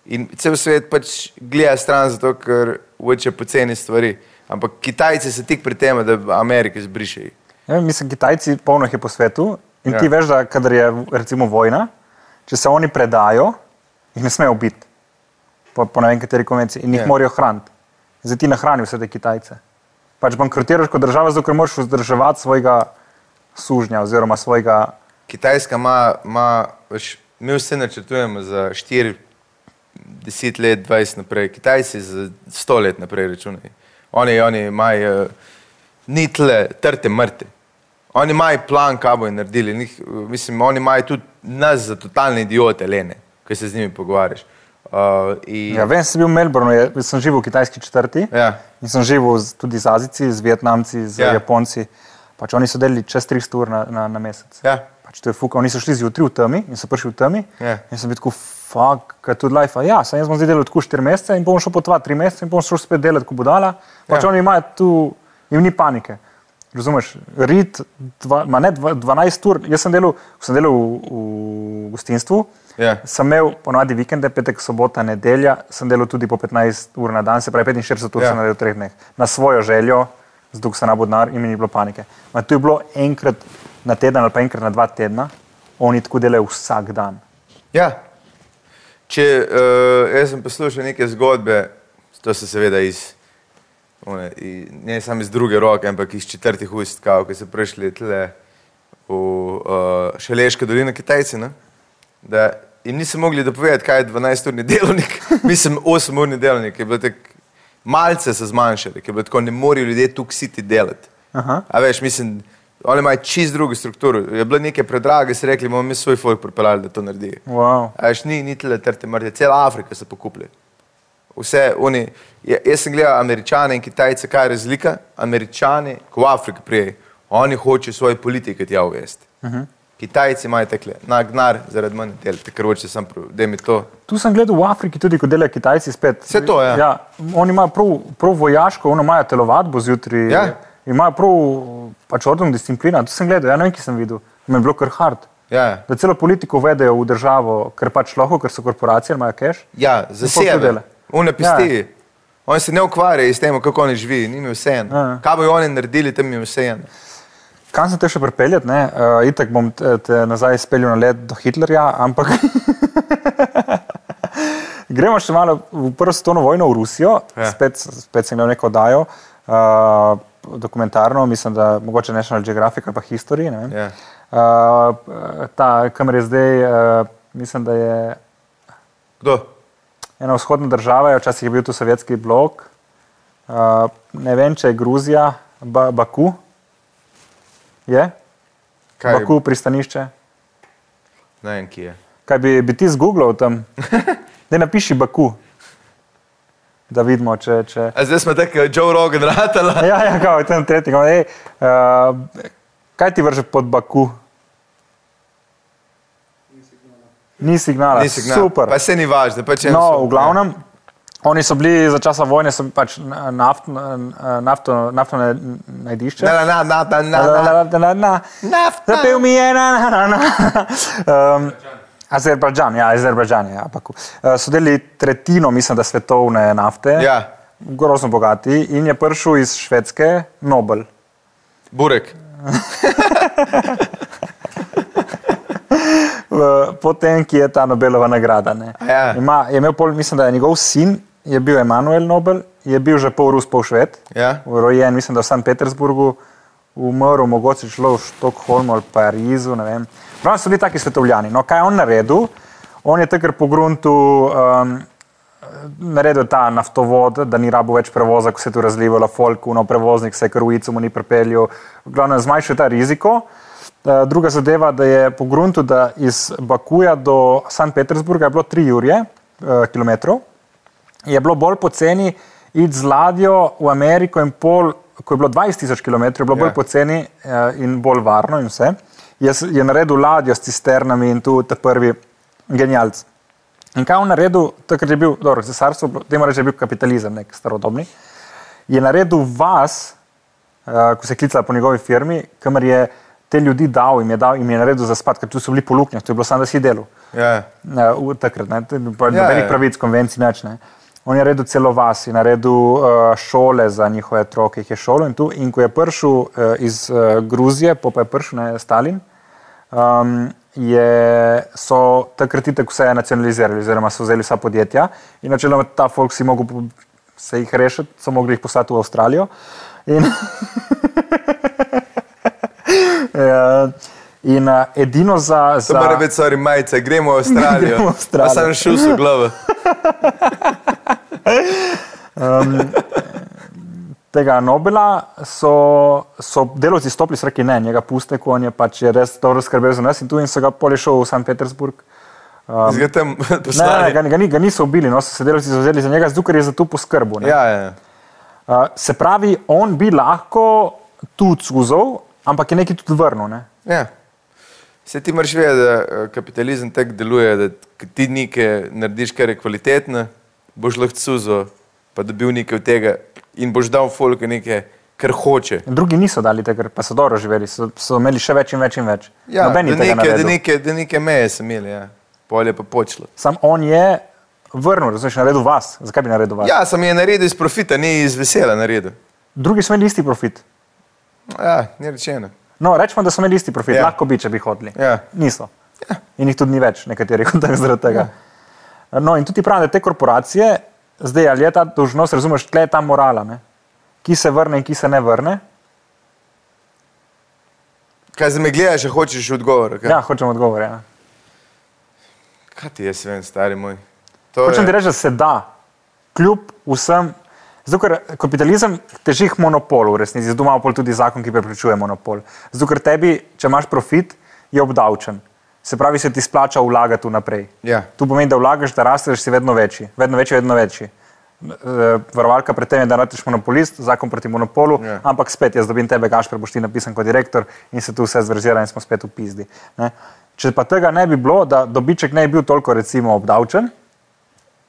Speaker 1: In cel svet pač gleda stran, zato ker hoče poceni stvari. Ampak Kitajci se tik pri tem, da Amerike zbrišejo.
Speaker 2: Ja, mislim, Kitajci polno jih je po svetu in
Speaker 1: Ja.
Speaker 2: ja. ti veš, da kadar je recimo vojna, če se oni predajo, jih ne smejo biti po, po ne vem kateri konvenciji in jih
Speaker 1: Ja.
Speaker 2: ja. morajo hraniti. Zdaj ti nahrani vse te Kitajce. Pač bankrotiraš kot država, zato ker moraš vzdrževati svojega sužnja oziroma svojega
Speaker 1: Kitajska ima, ima veš, mi vse načrtujemo za 4, 10 let, 20 naprej, Kitajci za 100 let naprej računajo. Oni, oni imajo eh, ni tle, trte mrte. Oni imajo plan, kaj bojo naredili. Njih, eh, mislim, oni imajo tudi nas za totalne idiote, lene, ko se z njimi pogovarjaš. Uh, in,
Speaker 2: Ja, vem, sem bil v Melbournu, je, sem živel v kitajski četrti
Speaker 1: Ja.
Speaker 2: in sem živel z, tudi z Azici, z Vietnamci, z
Speaker 1: Ja.
Speaker 2: ja. Japonci. Pač oni so delali čez 300 ur na, na, na mesec.
Speaker 1: Ja.
Speaker 2: Pač to je fuka. Oni so šli zjutraj v temi in so prišli v temi.
Speaker 1: Ja.
Speaker 2: In sem bil tako, fuck, kaj tu life. Ja, sem jaz bom zdaj delal tako 4 mesece in bom šel po 2-3 mesece in bom šel spet delati, ko bo dala. Pač
Speaker 1: Ja.
Speaker 2: ja. oni imajo tu, jim ni panike. Razumeš, rit, dva, ma ne, dva, 12 ur, jaz sem delal, ko sem delal v, v gostinstvu,
Speaker 1: Ja.
Speaker 2: Sem imel ponovadi vikende, petek, sobota, nedelja, sem delal tudi po 15 ur na dan, se pravi 45 ur
Speaker 1: Ja.
Speaker 2: ja. sem naredil v treh dneh. Na svojo željo, zduk se nabo denar in mi ni bilo panike. Ma to je bilo enkrat na teden ali pa enkrat na dva tedna, oni tako delajo vsak dan.
Speaker 1: Ja. Če, uh, jaz sem poslušal neke zgodbe, to so seveda iz, one, i- ne samo iz druge roke, ampak iz četrtih ust, kao, ki so prišli tle v uh, Šaleške doline Kitajci, ne? da jim niso mogli dopovedati, kaj je 12-urni delovnik, mislim 8-urni delovnik, je bilo tako, malce se zmanjšali, ker je bilo tako, ne morejo ljudje tu ksiti delati.
Speaker 2: Aha.
Speaker 1: A veš, mislim, oni imajo čist drugo strukturo. Je bilo nekaj predrage, si rekli, bomo mi svoj folk pripeljali, da to naredijo.
Speaker 2: Wow.
Speaker 1: A veš, ni, ni tele trte mrtve, cela Afrika se pokuplja. Vse oni, ja- jaz sem gledal američane in kitajce, kaj je razlika. Američani, ko v Afriki prijejo, oni hočejo svoje politike tja uvesti. Uh
Speaker 2: Mhm.
Speaker 1: -huh. Kitajci imajo takle, nagnar zaradi manj del, ker hoče sem, da mi to.
Speaker 2: Tu sem gledal v Afriki tudi, ko delajo Kitajci spet.
Speaker 1: Saj to, ja.
Speaker 2: ja oni imajo prav, prav vojaško, oni imajo telovadbo zjutraj,
Speaker 1: Ja.
Speaker 2: imajo prav pač ordno disciplina. Tu sem gledal, ja ne vem, ki sem videl, me je bilo kar hard.
Speaker 1: Ja,
Speaker 2: da celo politiko vedejo v državo, ker pač lahko, ker so korporacije, imajo keš.
Speaker 1: ja
Speaker 2: to dela.
Speaker 1: zasebe, unapesti.
Speaker 2: Ja.
Speaker 1: Ja. Oni se ne ukvarjajo s tem, kako oni živijo, njim je vseeno.
Speaker 2: Ja, ja.
Speaker 1: Kaj bojo oni naredili, tam jim je vseeno.
Speaker 2: Kam sem te še pripeljal, uh, itek bom te, te nazaj speljal na let do Hitlerja, ampak gremo še malo v prvo svetovno vojno v Rusijo,
Speaker 1: Ja.
Speaker 2: ja. spet, spet sem gledal neko oddajo, uh, dokumentarno, mislim, da mogoče National Geographic ali pa History. ne vem.
Speaker 1: Ja.
Speaker 2: Uh, ta, kamer je zdaj, uh, mislim, da je
Speaker 1: Kdo?
Speaker 2: ena vzhodna država, je, včasih je bil tu sovjetski blok, uh, ne vem, če je Gruzija, ba, Baku. Je?
Speaker 1: Kaj je?
Speaker 2: Baku, pristanišče.
Speaker 1: Ne vem, kje je.
Speaker 2: Kaj bi, bi ti zgooglal tam? Ne napiši Baku, da vidimo, če. če...
Speaker 1: A zdaj smo tako, Joe Rogan ratala.
Speaker 2: Ja, ja, kao, tam tretji. kao, ej, Uh, kaj ti vrže pod Baku? Ni signala.
Speaker 1: Ni signal.
Speaker 2: Super.
Speaker 1: Pa se ni važno. Pač en so- ja.
Speaker 2: No, v glavnem, oni so bili za časa vojne so bili pač na- naft, na- nafto, naftno na- najdišče.
Speaker 1: Na, na, na, na, na, na, na.
Speaker 2: Na, na, na, na, na.
Speaker 1: Nafta.
Speaker 2: Zapel mi je na, na, na. na. Um, Azerbajdžan, ja, Azerbajdžan je. Ja, ampak, eh, so delili tretjino, mislim, da svetovne nafte.
Speaker 1: Ja.
Speaker 2: Grozno bogati in je prišel iz Švedske Nobel.
Speaker 1: Burek.
Speaker 2: v- potem, ki je ta Nobelova nagrada. ne.
Speaker 1: Ja.
Speaker 2: Ima, je imel pol, mislim, da je njegov sin, je bil Emanuel Nobel, je bil že pol Rus, pol Šved,
Speaker 1: Ja.
Speaker 2: rojen, mislim, da v Sankt Petersburgu, umrl, mogoče šlo v Štokholmu ali Parizu. ne vem. Pravno so bili taki svetovljani. No, kaj je on naredil? On je takrat po gruntu um, naredil ta naftovod, da ni rabo več prevoza, ko se je tu razlivalo folku, no prevoznik se je kar v icu mu ni pripeljal. Glavno, zmanjšuje ta riziko. Eh, Druga zadeva, da je po gruntu, da iz Bakuja do Sankt Petersburga je bilo 3 urje eh, kilometrov, je bilo bolj poceni iti z ladjo v Ameriko in pol, ko je bilo 20 tisoč km, je bilo
Speaker 1: Ja.
Speaker 2: bolj poceni eh, in bolj varno in vse. Jaz je naredil ladjo s cisternami in tu ta prvi genijalc. In kaj je on naredil, takrat je bil, dobro, cesarstvo, je bilo- temu reče, je bil kapitalizem, nek starodobni, je naredil vas, eh, ko se je klicala po njegovi firmi, kamer je te ljudi dal, jim je, dal, jim je naredil za spat, ker tu so bili po luknjah, to je bilo samo, da si delal.
Speaker 1: Ja.
Speaker 2: Ja, v- takrat, ne, to je bilo
Speaker 1: Ja,
Speaker 2: nobenih
Speaker 1: ja.
Speaker 2: pravic, konvencij, nič ne. On je naredil celo vas, je naredil uh, šole za njihove otroke, jih je šolo in tu. In ko je prišel uh, iz uh, Gruzije, po pa je prišel ne, Stalin, um, je, so takrat itek vse nacionalizirali, oziroma so vzeli vsa podjetja. In načeloma ta folk si mogel po- se jih rešiti, so mogli jih poslati v Avstralijo. In Ja, In uh, edino za.
Speaker 1: To
Speaker 2: za
Speaker 1: mora biti, sorry, majica, gremo v Avstralijo.
Speaker 2: Gremo v
Speaker 1: Pa
Speaker 2: Avstralijo.
Speaker 1: sem šel v glavo.
Speaker 2: tega Nobela so, so delovci stopili, so rekli ne, njega puste, ko on je pač je res dobro skrbel za nas in tu in so ga polišel v Sankt Petersburg. Uh,
Speaker 1: Zdaj tam
Speaker 2: Ne, ne, ne,
Speaker 1: poslali.
Speaker 2: ga, ni- ga, ni, ga niso ubili, no, so se delovci zavzeli za njega, zato ker je za to poskrbil. ne.
Speaker 1: Ja, ja.
Speaker 2: Uh, se pravi, on bi lahko tu cuzel, ampak je nekaj tudi vrnil. Ne?
Speaker 1: ja. Se ti moraš vedeti, da eh, kapitalizem tako deluje, da k- ti nekaj narediš, kar je kvalitetno, boš lahko suzo, pa dobil nekaj od tega in boš dal folku nekaj, kar hoče.
Speaker 2: Drugi niso dali tega, pa so dobro živeli, so, so imeli še več in več in več.
Speaker 1: Ja, da
Speaker 2: Noben ni
Speaker 1: neke,
Speaker 2: tega
Speaker 1: da,
Speaker 2: naredil.
Speaker 1: neke, da neke meje sem imel, ja. polje pa počlo.
Speaker 2: Sam on je vrnil, razumete, naredil vas. Zakaj bi naredil vas?
Speaker 1: Ja, sem je naredil iz profita, ni iz vesela naredil.
Speaker 2: Drugi so imeli isti profit.
Speaker 1: Ja, ni rečeno.
Speaker 2: No, rečemo, da so imeli isti profit,
Speaker 1: Ja.
Speaker 2: ja. lahko bi, če bi hodili.
Speaker 1: Ja.
Speaker 2: Niso. Ja. In jih tudi ni več, nekaterih od teh zaradi tega. Ja. No, in tudi pravim, da te korporacije, zdaj ali je ta dolžnost, razumeš, tle je ta morala, ne? ki se vrne in ki se ne vrne.
Speaker 1: Kaj za me gledaš, če hočeš odgovor? Kaj,
Speaker 2: Ja, hočem odgovor. Ja.
Speaker 1: kaj ti jaz vem, stari moj? To
Speaker 2: Hočem ti
Speaker 1: je,
Speaker 2: reči, da se da, kljub vsem. Zato, ker kapitalizem teži k monopolu, v resnici. Zato imamo pol tudi zakon, ki preprečuje monopol. Zato, ker tebi, če imaš profit, je obdavčen. Se pravi, se ti splača vlagati naprej.
Speaker 1: Ja.
Speaker 2: To pomeni, da vlagaš, da rasteš, si vedno večji, vedno večji, vedno večji. Eh, Varovalka pred tem je, da nateš monopolist, zakon proti monopolu,
Speaker 1: Ja.
Speaker 2: ja. ampak spet jaz dobim tebe, Gašper, boš ti napisan kot direktor in se tu vse zverzira in smo spet v pizdi. Ne? Če pa tega ne bi bilo, da dobiček ne bi bil toliko recimo obdavčen,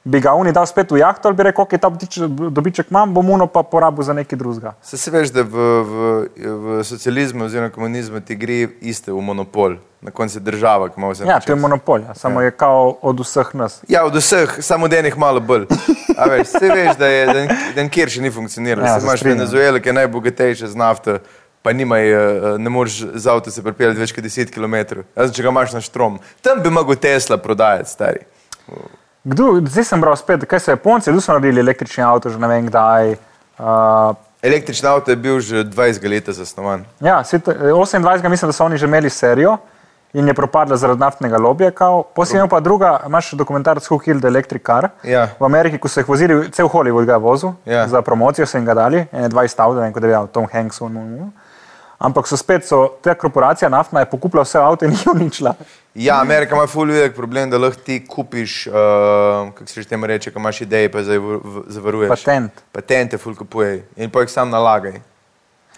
Speaker 2: bi ga oni dal spet v jahto ali bi rekel, ok, ta dobiček- dobiček imam, bom uno pa porabil za nekaj drugega.
Speaker 1: se, se veš, da v, v, v socializmu oziroma komunizmu ti gre iste v monopol, na koncu je država, ki ima vse.
Speaker 2: Ja, to je monopol, ja. samo ja. je kao od vseh nas.
Speaker 1: Ja, od vseh, samo od enih malo bolj. A Veš, se veš, da je dan- da nikjer še ni funkcioniral.
Speaker 2: Ja,
Speaker 1: Ja,
Speaker 2: se
Speaker 1: imaš
Speaker 2: strinjam.
Speaker 1: Venezuelo, ki je najbogatejša z nafto, pa nimaj, eh, eh, ne moreš z avto se pripeljati več kot 10 km. Razen, če ga imaš na štrom. Tam bi mogel Tesla prodajati, stari.
Speaker 2: Kdo, zdaj sem bral spet, kaj so Japonci, tu so naredili električni avto, že ne vem kdaj. Uh,
Speaker 1: Električni avto je bil že 20 let zasnovan.
Speaker 2: ja, svet, 28. mislim, da so oni že imeli serijo in je propadla zaradi naftnega lobija. Posebno pa druga, imaš dokumentarc Who Killed the Electric Car.
Speaker 1: Ja.
Speaker 2: V Ameriki, ko so jih vozili, cel Hollywood ga je vozil,
Speaker 1: Ja.
Speaker 2: za promocijo so jim ga dali, ene 20 avto, ne vem, kot je dejal Tom Hanks. Un, un, un. Ampak so spet, so, ta korporacija naftna je pokupila vse avto in jih uničila.
Speaker 1: Ja, Amerika ima ful velik problem, da lahko ti kupiš, uh, kako se že temu reče, ko imaš ideje, pa zavaru- v- zavaruješ.
Speaker 2: Patent.
Speaker 1: Patente ful kupuje in pa jih sam nalagaj.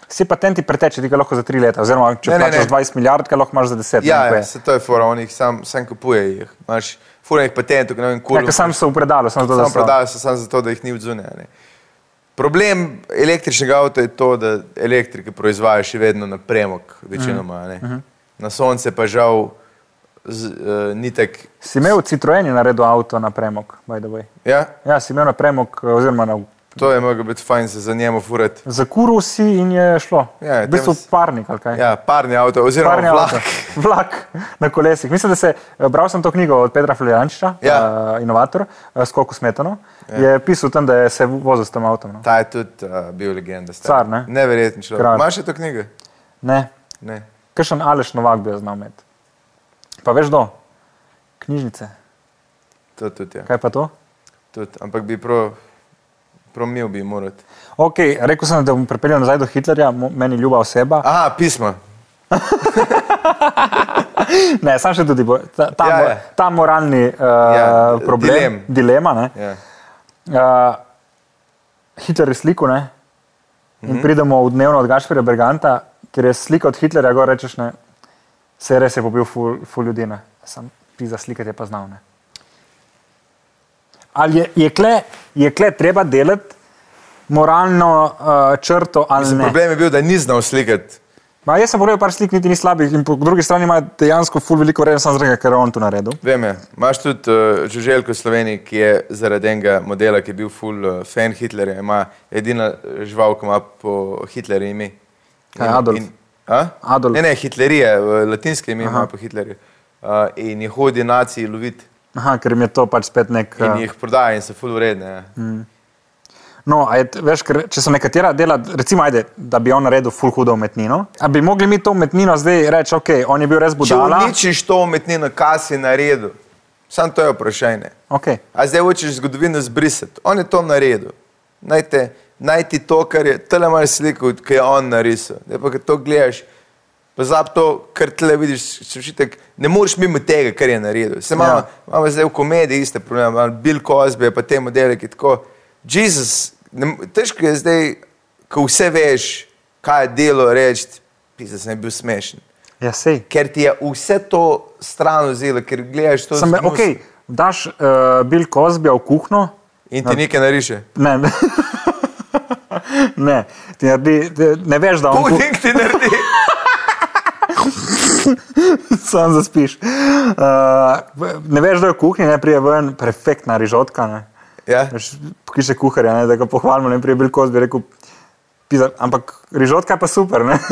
Speaker 2: Vsi patenti preteče, ti ga lahko za 3 leta, oziroma če
Speaker 1: Ne, ne,
Speaker 2: plačaš
Speaker 1: ne.
Speaker 2: 20 milijard, ga lahko imaš za 10 ne
Speaker 1: Ja,
Speaker 2: vem, ko
Speaker 1: ja
Speaker 2: je.
Speaker 1: se to je fora, on jih sam, sam kupuje. Jih. Imaš furanih patentov, ki ne vem,
Speaker 2: Ja,
Speaker 1: koliko.
Speaker 2: ker sam sem v predalu, sem zdaj
Speaker 1: sam prodajajo se samo zato, da jih ni odzune. Problem električnega avta je to, da
Speaker 2: Mhm,
Speaker 1: elektrike proizvajajo še vedno na premog, večinoma. a ne. Na sonce pa žal z, uh, ni tak.
Speaker 2: Si imel Citroen je naredil avto na premog, by the way.
Speaker 1: Ja,
Speaker 2: Ja, si imel na premog, oziroma na,
Speaker 1: to je moglo biti fajn se za njemu furati.
Speaker 2: za kuru si in je šlo.
Speaker 1: Ja,
Speaker 2: v bistvu
Speaker 1: tem s-
Speaker 2: parnik ali kaj.
Speaker 1: Ja, parni avto, oziroma
Speaker 2: Parni
Speaker 1: vlak.
Speaker 2: avto, vlak na kolesih. Mislim, da se, eh, bral sem to knjigo od Petra Floriančiča,
Speaker 1: Ja.
Speaker 2: uh, inovator, uh, Skoku smetano. Ja. Je pisal tam, da je se vozil s tem avtom. No.
Speaker 1: Ta je tudi uh, bil legenda. stari.
Speaker 2: Car, ne?
Speaker 1: Neverjeten človek.
Speaker 2: Kralj.
Speaker 1: Imaš še to knjigo?
Speaker 2: Ne,
Speaker 1: Ne.
Speaker 2: kakšen Aleš Novak bi jo znal imeti. Pa veš do, knjižnice.
Speaker 1: To tudi je. Ja.
Speaker 2: Kaj pa to?
Speaker 1: Tudi. Ampak bi pro, promil bi moral.
Speaker 2: Ok, rekel sem, da bom pripeljal nazaj do Hitlerja, mo- meni ljuba oseba.
Speaker 1: Aha, pisma.
Speaker 2: Ne, sam še tudi bo, ta, ta,
Speaker 1: Ja,
Speaker 2: ja,
Speaker 1: ja.
Speaker 2: mo, ta moralni uh,
Speaker 1: Ja,
Speaker 2: ja, problem,
Speaker 1: dilem.
Speaker 2: dilema. Ne?
Speaker 1: Ja.
Speaker 2: Uh, Hitler je sliko, ne? In
Speaker 1: Mhm.
Speaker 2: mm -hmm. pridemo v dnevno od Gašpira Berganta, ker je slika od Hitlerja, gor rečeš, ne, se res je pobil ful, ful ljudi, ne, sam ti za slike te pa znal, ne. Ali je, je, kle, je kle treba delati moralno uh, črto ali
Speaker 1: Mislim,
Speaker 2: ne?
Speaker 1: problem je bil, da ni znal slikati.
Speaker 2: Ma, jaz sem pogledal par slik, niti ni slabih, in po drugi strani ima dejansko ful veliko vrednosti, samo zaradi tega, ker je on to naredil.
Speaker 1: Vem, ja. imaš tudi uh, Žuželjko Sloveniji, ki je zaradi enega modela, ki je bil full uh, fan Hitlerja, ima edina žival, ki ima po Hitlerju ime.
Speaker 2: Kaj, Adolf?
Speaker 1: a?
Speaker 2: Adolf.
Speaker 1: Ne, ne, Hitlerija, eh, v latinskem ime ima po Hitlerju. Uh, in jih hodi naciji loviti
Speaker 2: Aha, ker jim je to pač spet nek.
Speaker 1: in
Speaker 2: eh,
Speaker 1: jih prodaja in so full vredne. Ja.
Speaker 2: Hm. No, a je, t- veš, ker, če so nekatera dela, recimo, ajde, da bi on naredil full hudo umetnino, a bi mogli mi to umetnino zdaj reči, ok, on je bil res
Speaker 1: Če
Speaker 2: budala.
Speaker 1: uničiš to umetnino, kaj si naredil, samo to je vprašanje.
Speaker 2: Okay.
Speaker 1: A zdaj hočeš zgodovino zbrisati. On je to naredil. Naj, te, naj ti to, kar je tele malo sliko, ki je on narisal. Zdaj pa, ko to gledaš, pozab to, kar tele vidiš, še učitek, ne moreš mimo tega, kar je naredil. Se imamo, ja.
Speaker 2: Ja.
Speaker 1: imamo zdaj v komediji iste probleme, imamo Bill Cosby je pa te modele, ki tako, Jezus, ne, m- težko je zdaj, ko vse veš, kaj je delo reči, pisal sem bil smešen.
Speaker 2: Ja, sej.
Speaker 1: Ker ti je vse to stran vzelo, ker gledaš to
Speaker 2: Sem,
Speaker 1: skozi
Speaker 2: ok, daš uh, Bill Cosbyja v kuhno.
Speaker 1: in ti nekaj nariše.
Speaker 2: Ne, ne. ne, ti naredi, ti ne veš, da on kuha,
Speaker 1: Puding ti naredi.
Speaker 2: sam zaspiš. Uh, ne veš, da je v kuhinji, ne prije ven, perfektna rižotka. Ne.
Speaker 1: Ja.
Speaker 2: Veš, Piše kuharja, ne, da ga pohvalimo, ne prej bil kost, bi rekel, pizda, ampak rižotka je pa super. ne.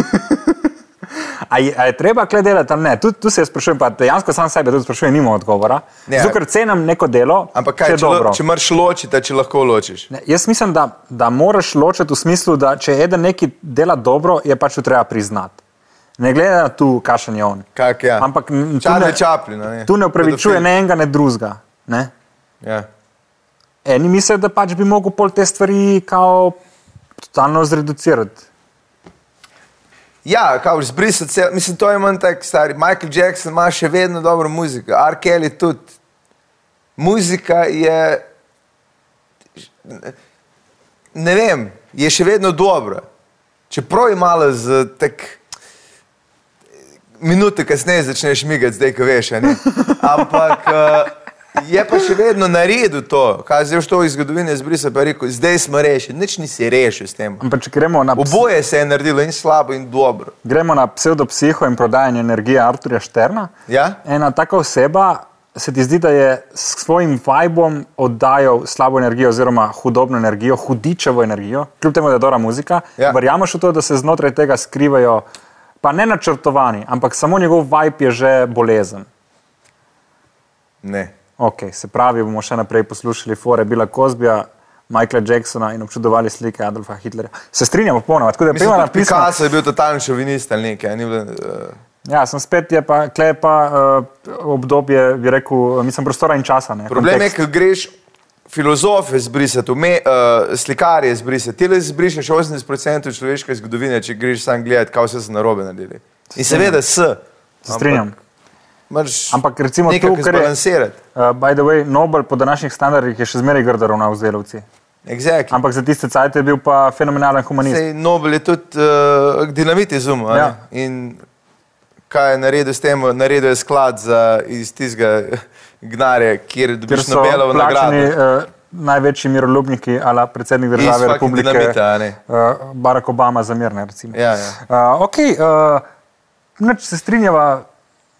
Speaker 2: A je, a je treba kle delati ali ne? Tu, tu se jaz sprašujem, pa dejansko sam sebe tudi sprašujem, nimam odgovora.
Speaker 1: Ne.
Speaker 2: Ne, Zato, ker cenim neko delo,
Speaker 1: Ja. Ampak
Speaker 2: ki
Speaker 1: kaj,
Speaker 2: je
Speaker 1: če, lo,
Speaker 2: dobro.
Speaker 1: če moraš ločiti, če lahko ločiš.
Speaker 2: Ne, jaz mislim, da, da moraš ločiti v smislu, da če eden neki dela dobro, je pač to treba priznati. Ne glede na to, kakšen je on.
Speaker 1: Kak, ja.
Speaker 2: Ampak n- tu
Speaker 1: Charlie
Speaker 2: ne-
Speaker 1: Chaplin, a ne?
Speaker 2: Tu ne upravičuje
Speaker 1: Pedofil.
Speaker 2: ne enega, ne drugega. Ne?
Speaker 1: Ja.
Speaker 2: Eni mislijo, da pač bi lahko pol te stvari kao totalno zreducirati.
Speaker 1: Ja, kao zbrisati se, mislim, to je manj tak stari. Michael Jackson ima še vedno dobro muziko, R. Kelly tudi. Muzika je, ne vem, je še vedno dobra. Čeprav je malo z tak, minute kasneje začneš migati, zdaj ko veš, a ne. Ampak eh, je pa še vedno naredil to, kaj zdaj už to iz zgodovine zbrisal, pa je rekel, zdaj smo rešili, nič nisi rešil s tem.
Speaker 2: Ampak če gremo na, ps
Speaker 1: Oboje se je naredilo in slabo in dobro.
Speaker 2: gremo na pseudopsiho in prodajanje energije Arturja Šterna,
Speaker 1: Ja?
Speaker 2: ena taka oseba se ti zdi, da je s svojim vibom oddajal slabo energijo, oziroma hudobno energijo, hudičevo energijo, kljub temu, da je dobra muzika.
Speaker 1: Ja.
Speaker 2: Ja. Verjameš v to, da se znotraj tega skrivajo, pa ne načrtovani, ampak samo njegov vibe je že bolezen.
Speaker 1: Ne.
Speaker 2: Okay, se pravi, bomo še naprej poslušali fore Bila Kozbija, Michaela Jacksona in občudovali slike Adolfa Hitlerja. Se strinjamo popolnoma, tako da
Speaker 1: Mislim,
Speaker 2: prima
Speaker 1: da
Speaker 2: na pismo.
Speaker 1: Picasso je bil totalni šovinist ali nekaj. Ni bilo, uh,
Speaker 2: Ja, sem spet je pa, kle je pa uh, obdobje, bi rekel, eh, mislim, prostora in časa. Ne,
Speaker 1: problem je,
Speaker 2: kontekst.
Speaker 1: ko greš filozofe zbrisati, ume, uh, slikarje zbrisati. Ti le zbrišeš 80% človeške zgodovine, če greš sam gledati, kaj vse so narobe naredili. In seveda s.
Speaker 2: se strinjam. Ampak recimo
Speaker 1: nekaj,
Speaker 2: to,
Speaker 1: kar
Speaker 2: kar je-
Speaker 1: zbalansirati.
Speaker 2: Uh, by the way, Nobel po današnjih standardih je še zmeraj grdo ravnal z delavci.
Speaker 1: Exactly.
Speaker 2: Ampak za tiste cajt je bil pa fenomenalen humanist.
Speaker 1: Sej Nobel je tudi uh, dinamit izumil. a ne?
Speaker 2: Ja.
Speaker 1: In kaj je naredil s tem? Naredil je sklad za, iz tistega gnare, kjer
Speaker 2: Ker
Speaker 1: dobiš
Speaker 2: so
Speaker 1: Nobelovo
Speaker 2: plačani
Speaker 1: nagrado.
Speaker 2: uh, največji miroljubniki, ali predsednik
Speaker 1: Iz fucking
Speaker 2: države Republike
Speaker 1: dinamita, a ne?
Speaker 2: uh, Barack Obama za mir. Ne, recimo.
Speaker 1: Ja, ja.
Speaker 2: Uh, ok, uh, nič se eh, strinjava.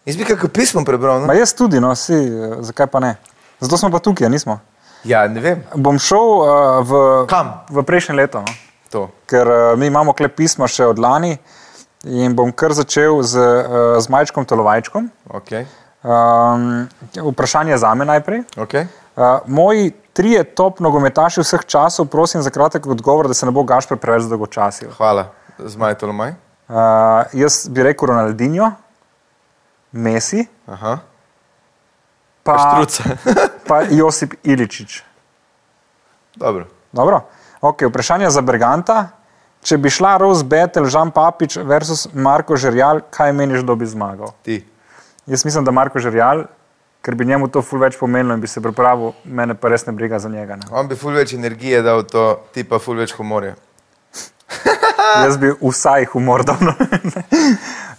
Speaker 1: Jaz bi kakšno pismo prebral.
Speaker 2: Ma
Speaker 1: No?
Speaker 2: jaz tudi, no, si, zakaj pa ne? Zato smo pa tukaj, nismo.
Speaker 1: Ja, ne vem.
Speaker 2: Bom šel uh, v,
Speaker 1: Kam?
Speaker 2: v prejšnje leto, no.
Speaker 1: To.
Speaker 2: ker uh, mi imamo klep pisma še od lani in bom kar začel z, uh, z Majčkom Tolovajčkom.
Speaker 1: Okay.
Speaker 2: Um, vprašanje za me najprej.
Speaker 1: Okay.
Speaker 2: Uh, moji trije top nogometaši vseh časov, prosim za kratek odgovor, da se ne bo Gašpr preveč dolgočasil.
Speaker 1: Hvala, zmaj Tolomaj.
Speaker 2: Uh, jaz bi rekel Ronaldinho, Messi,
Speaker 1: Aha.
Speaker 2: pa,
Speaker 1: Štruca.
Speaker 2: pa Josip Iličič.
Speaker 1: Dobro.
Speaker 2: Dobro. Okay, vprašanje za Berganta. Če bi šla Rose Betel, Žan Papič versus Marko Žerjal, kaj meniš, da bi zmagal?
Speaker 1: Ti.
Speaker 2: Jaz mislim, da Marko Žerjal, ker bi njemu to ful več pomenilo in bi se pripravil, mene pa res ne briga za njega. Ne?
Speaker 1: On bi ful več energije dal v to, ti pa ful več humorja.
Speaker 2: Jaz bi vsaj humor dal. no.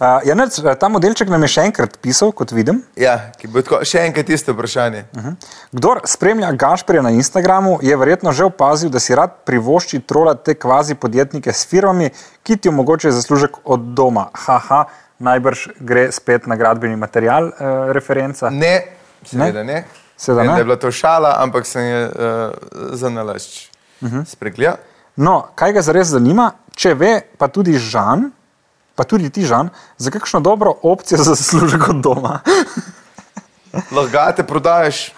Speaker 2: Uh, Janec, ta modelček nam je še enkrat pisal, kot vidim.
Speaker 1: Ja, ki bo tako, še enkrat isto vprašanje. Uh -huh.
Speaker 2: Kdor spremlja Gašperja na Instagramu, je verjetno že opazil, da si rad privošči trola te kvazi podjetnike s firmami, ki ti omogočajo zaslužek od doma. Haha, najbrž gre spet na gradbeni material, eh, referenca.
Speaker 1: Ne, seveda ne.
Speaker 2: Seveda
Speaker 1: Vem,
Speaker 2: ne.
Speaker 1: Da je bila to šala, ampak sem je uh, zanalašč uh -huh. spregledal.
Speaker 2: No, kaj ga zares zanima, če ve, pa tudi Žan, pa tudi ti Žan, za kakšno dobro opcijo za zaslužek od doma.
Speaker 1: Lahko te prodajaš,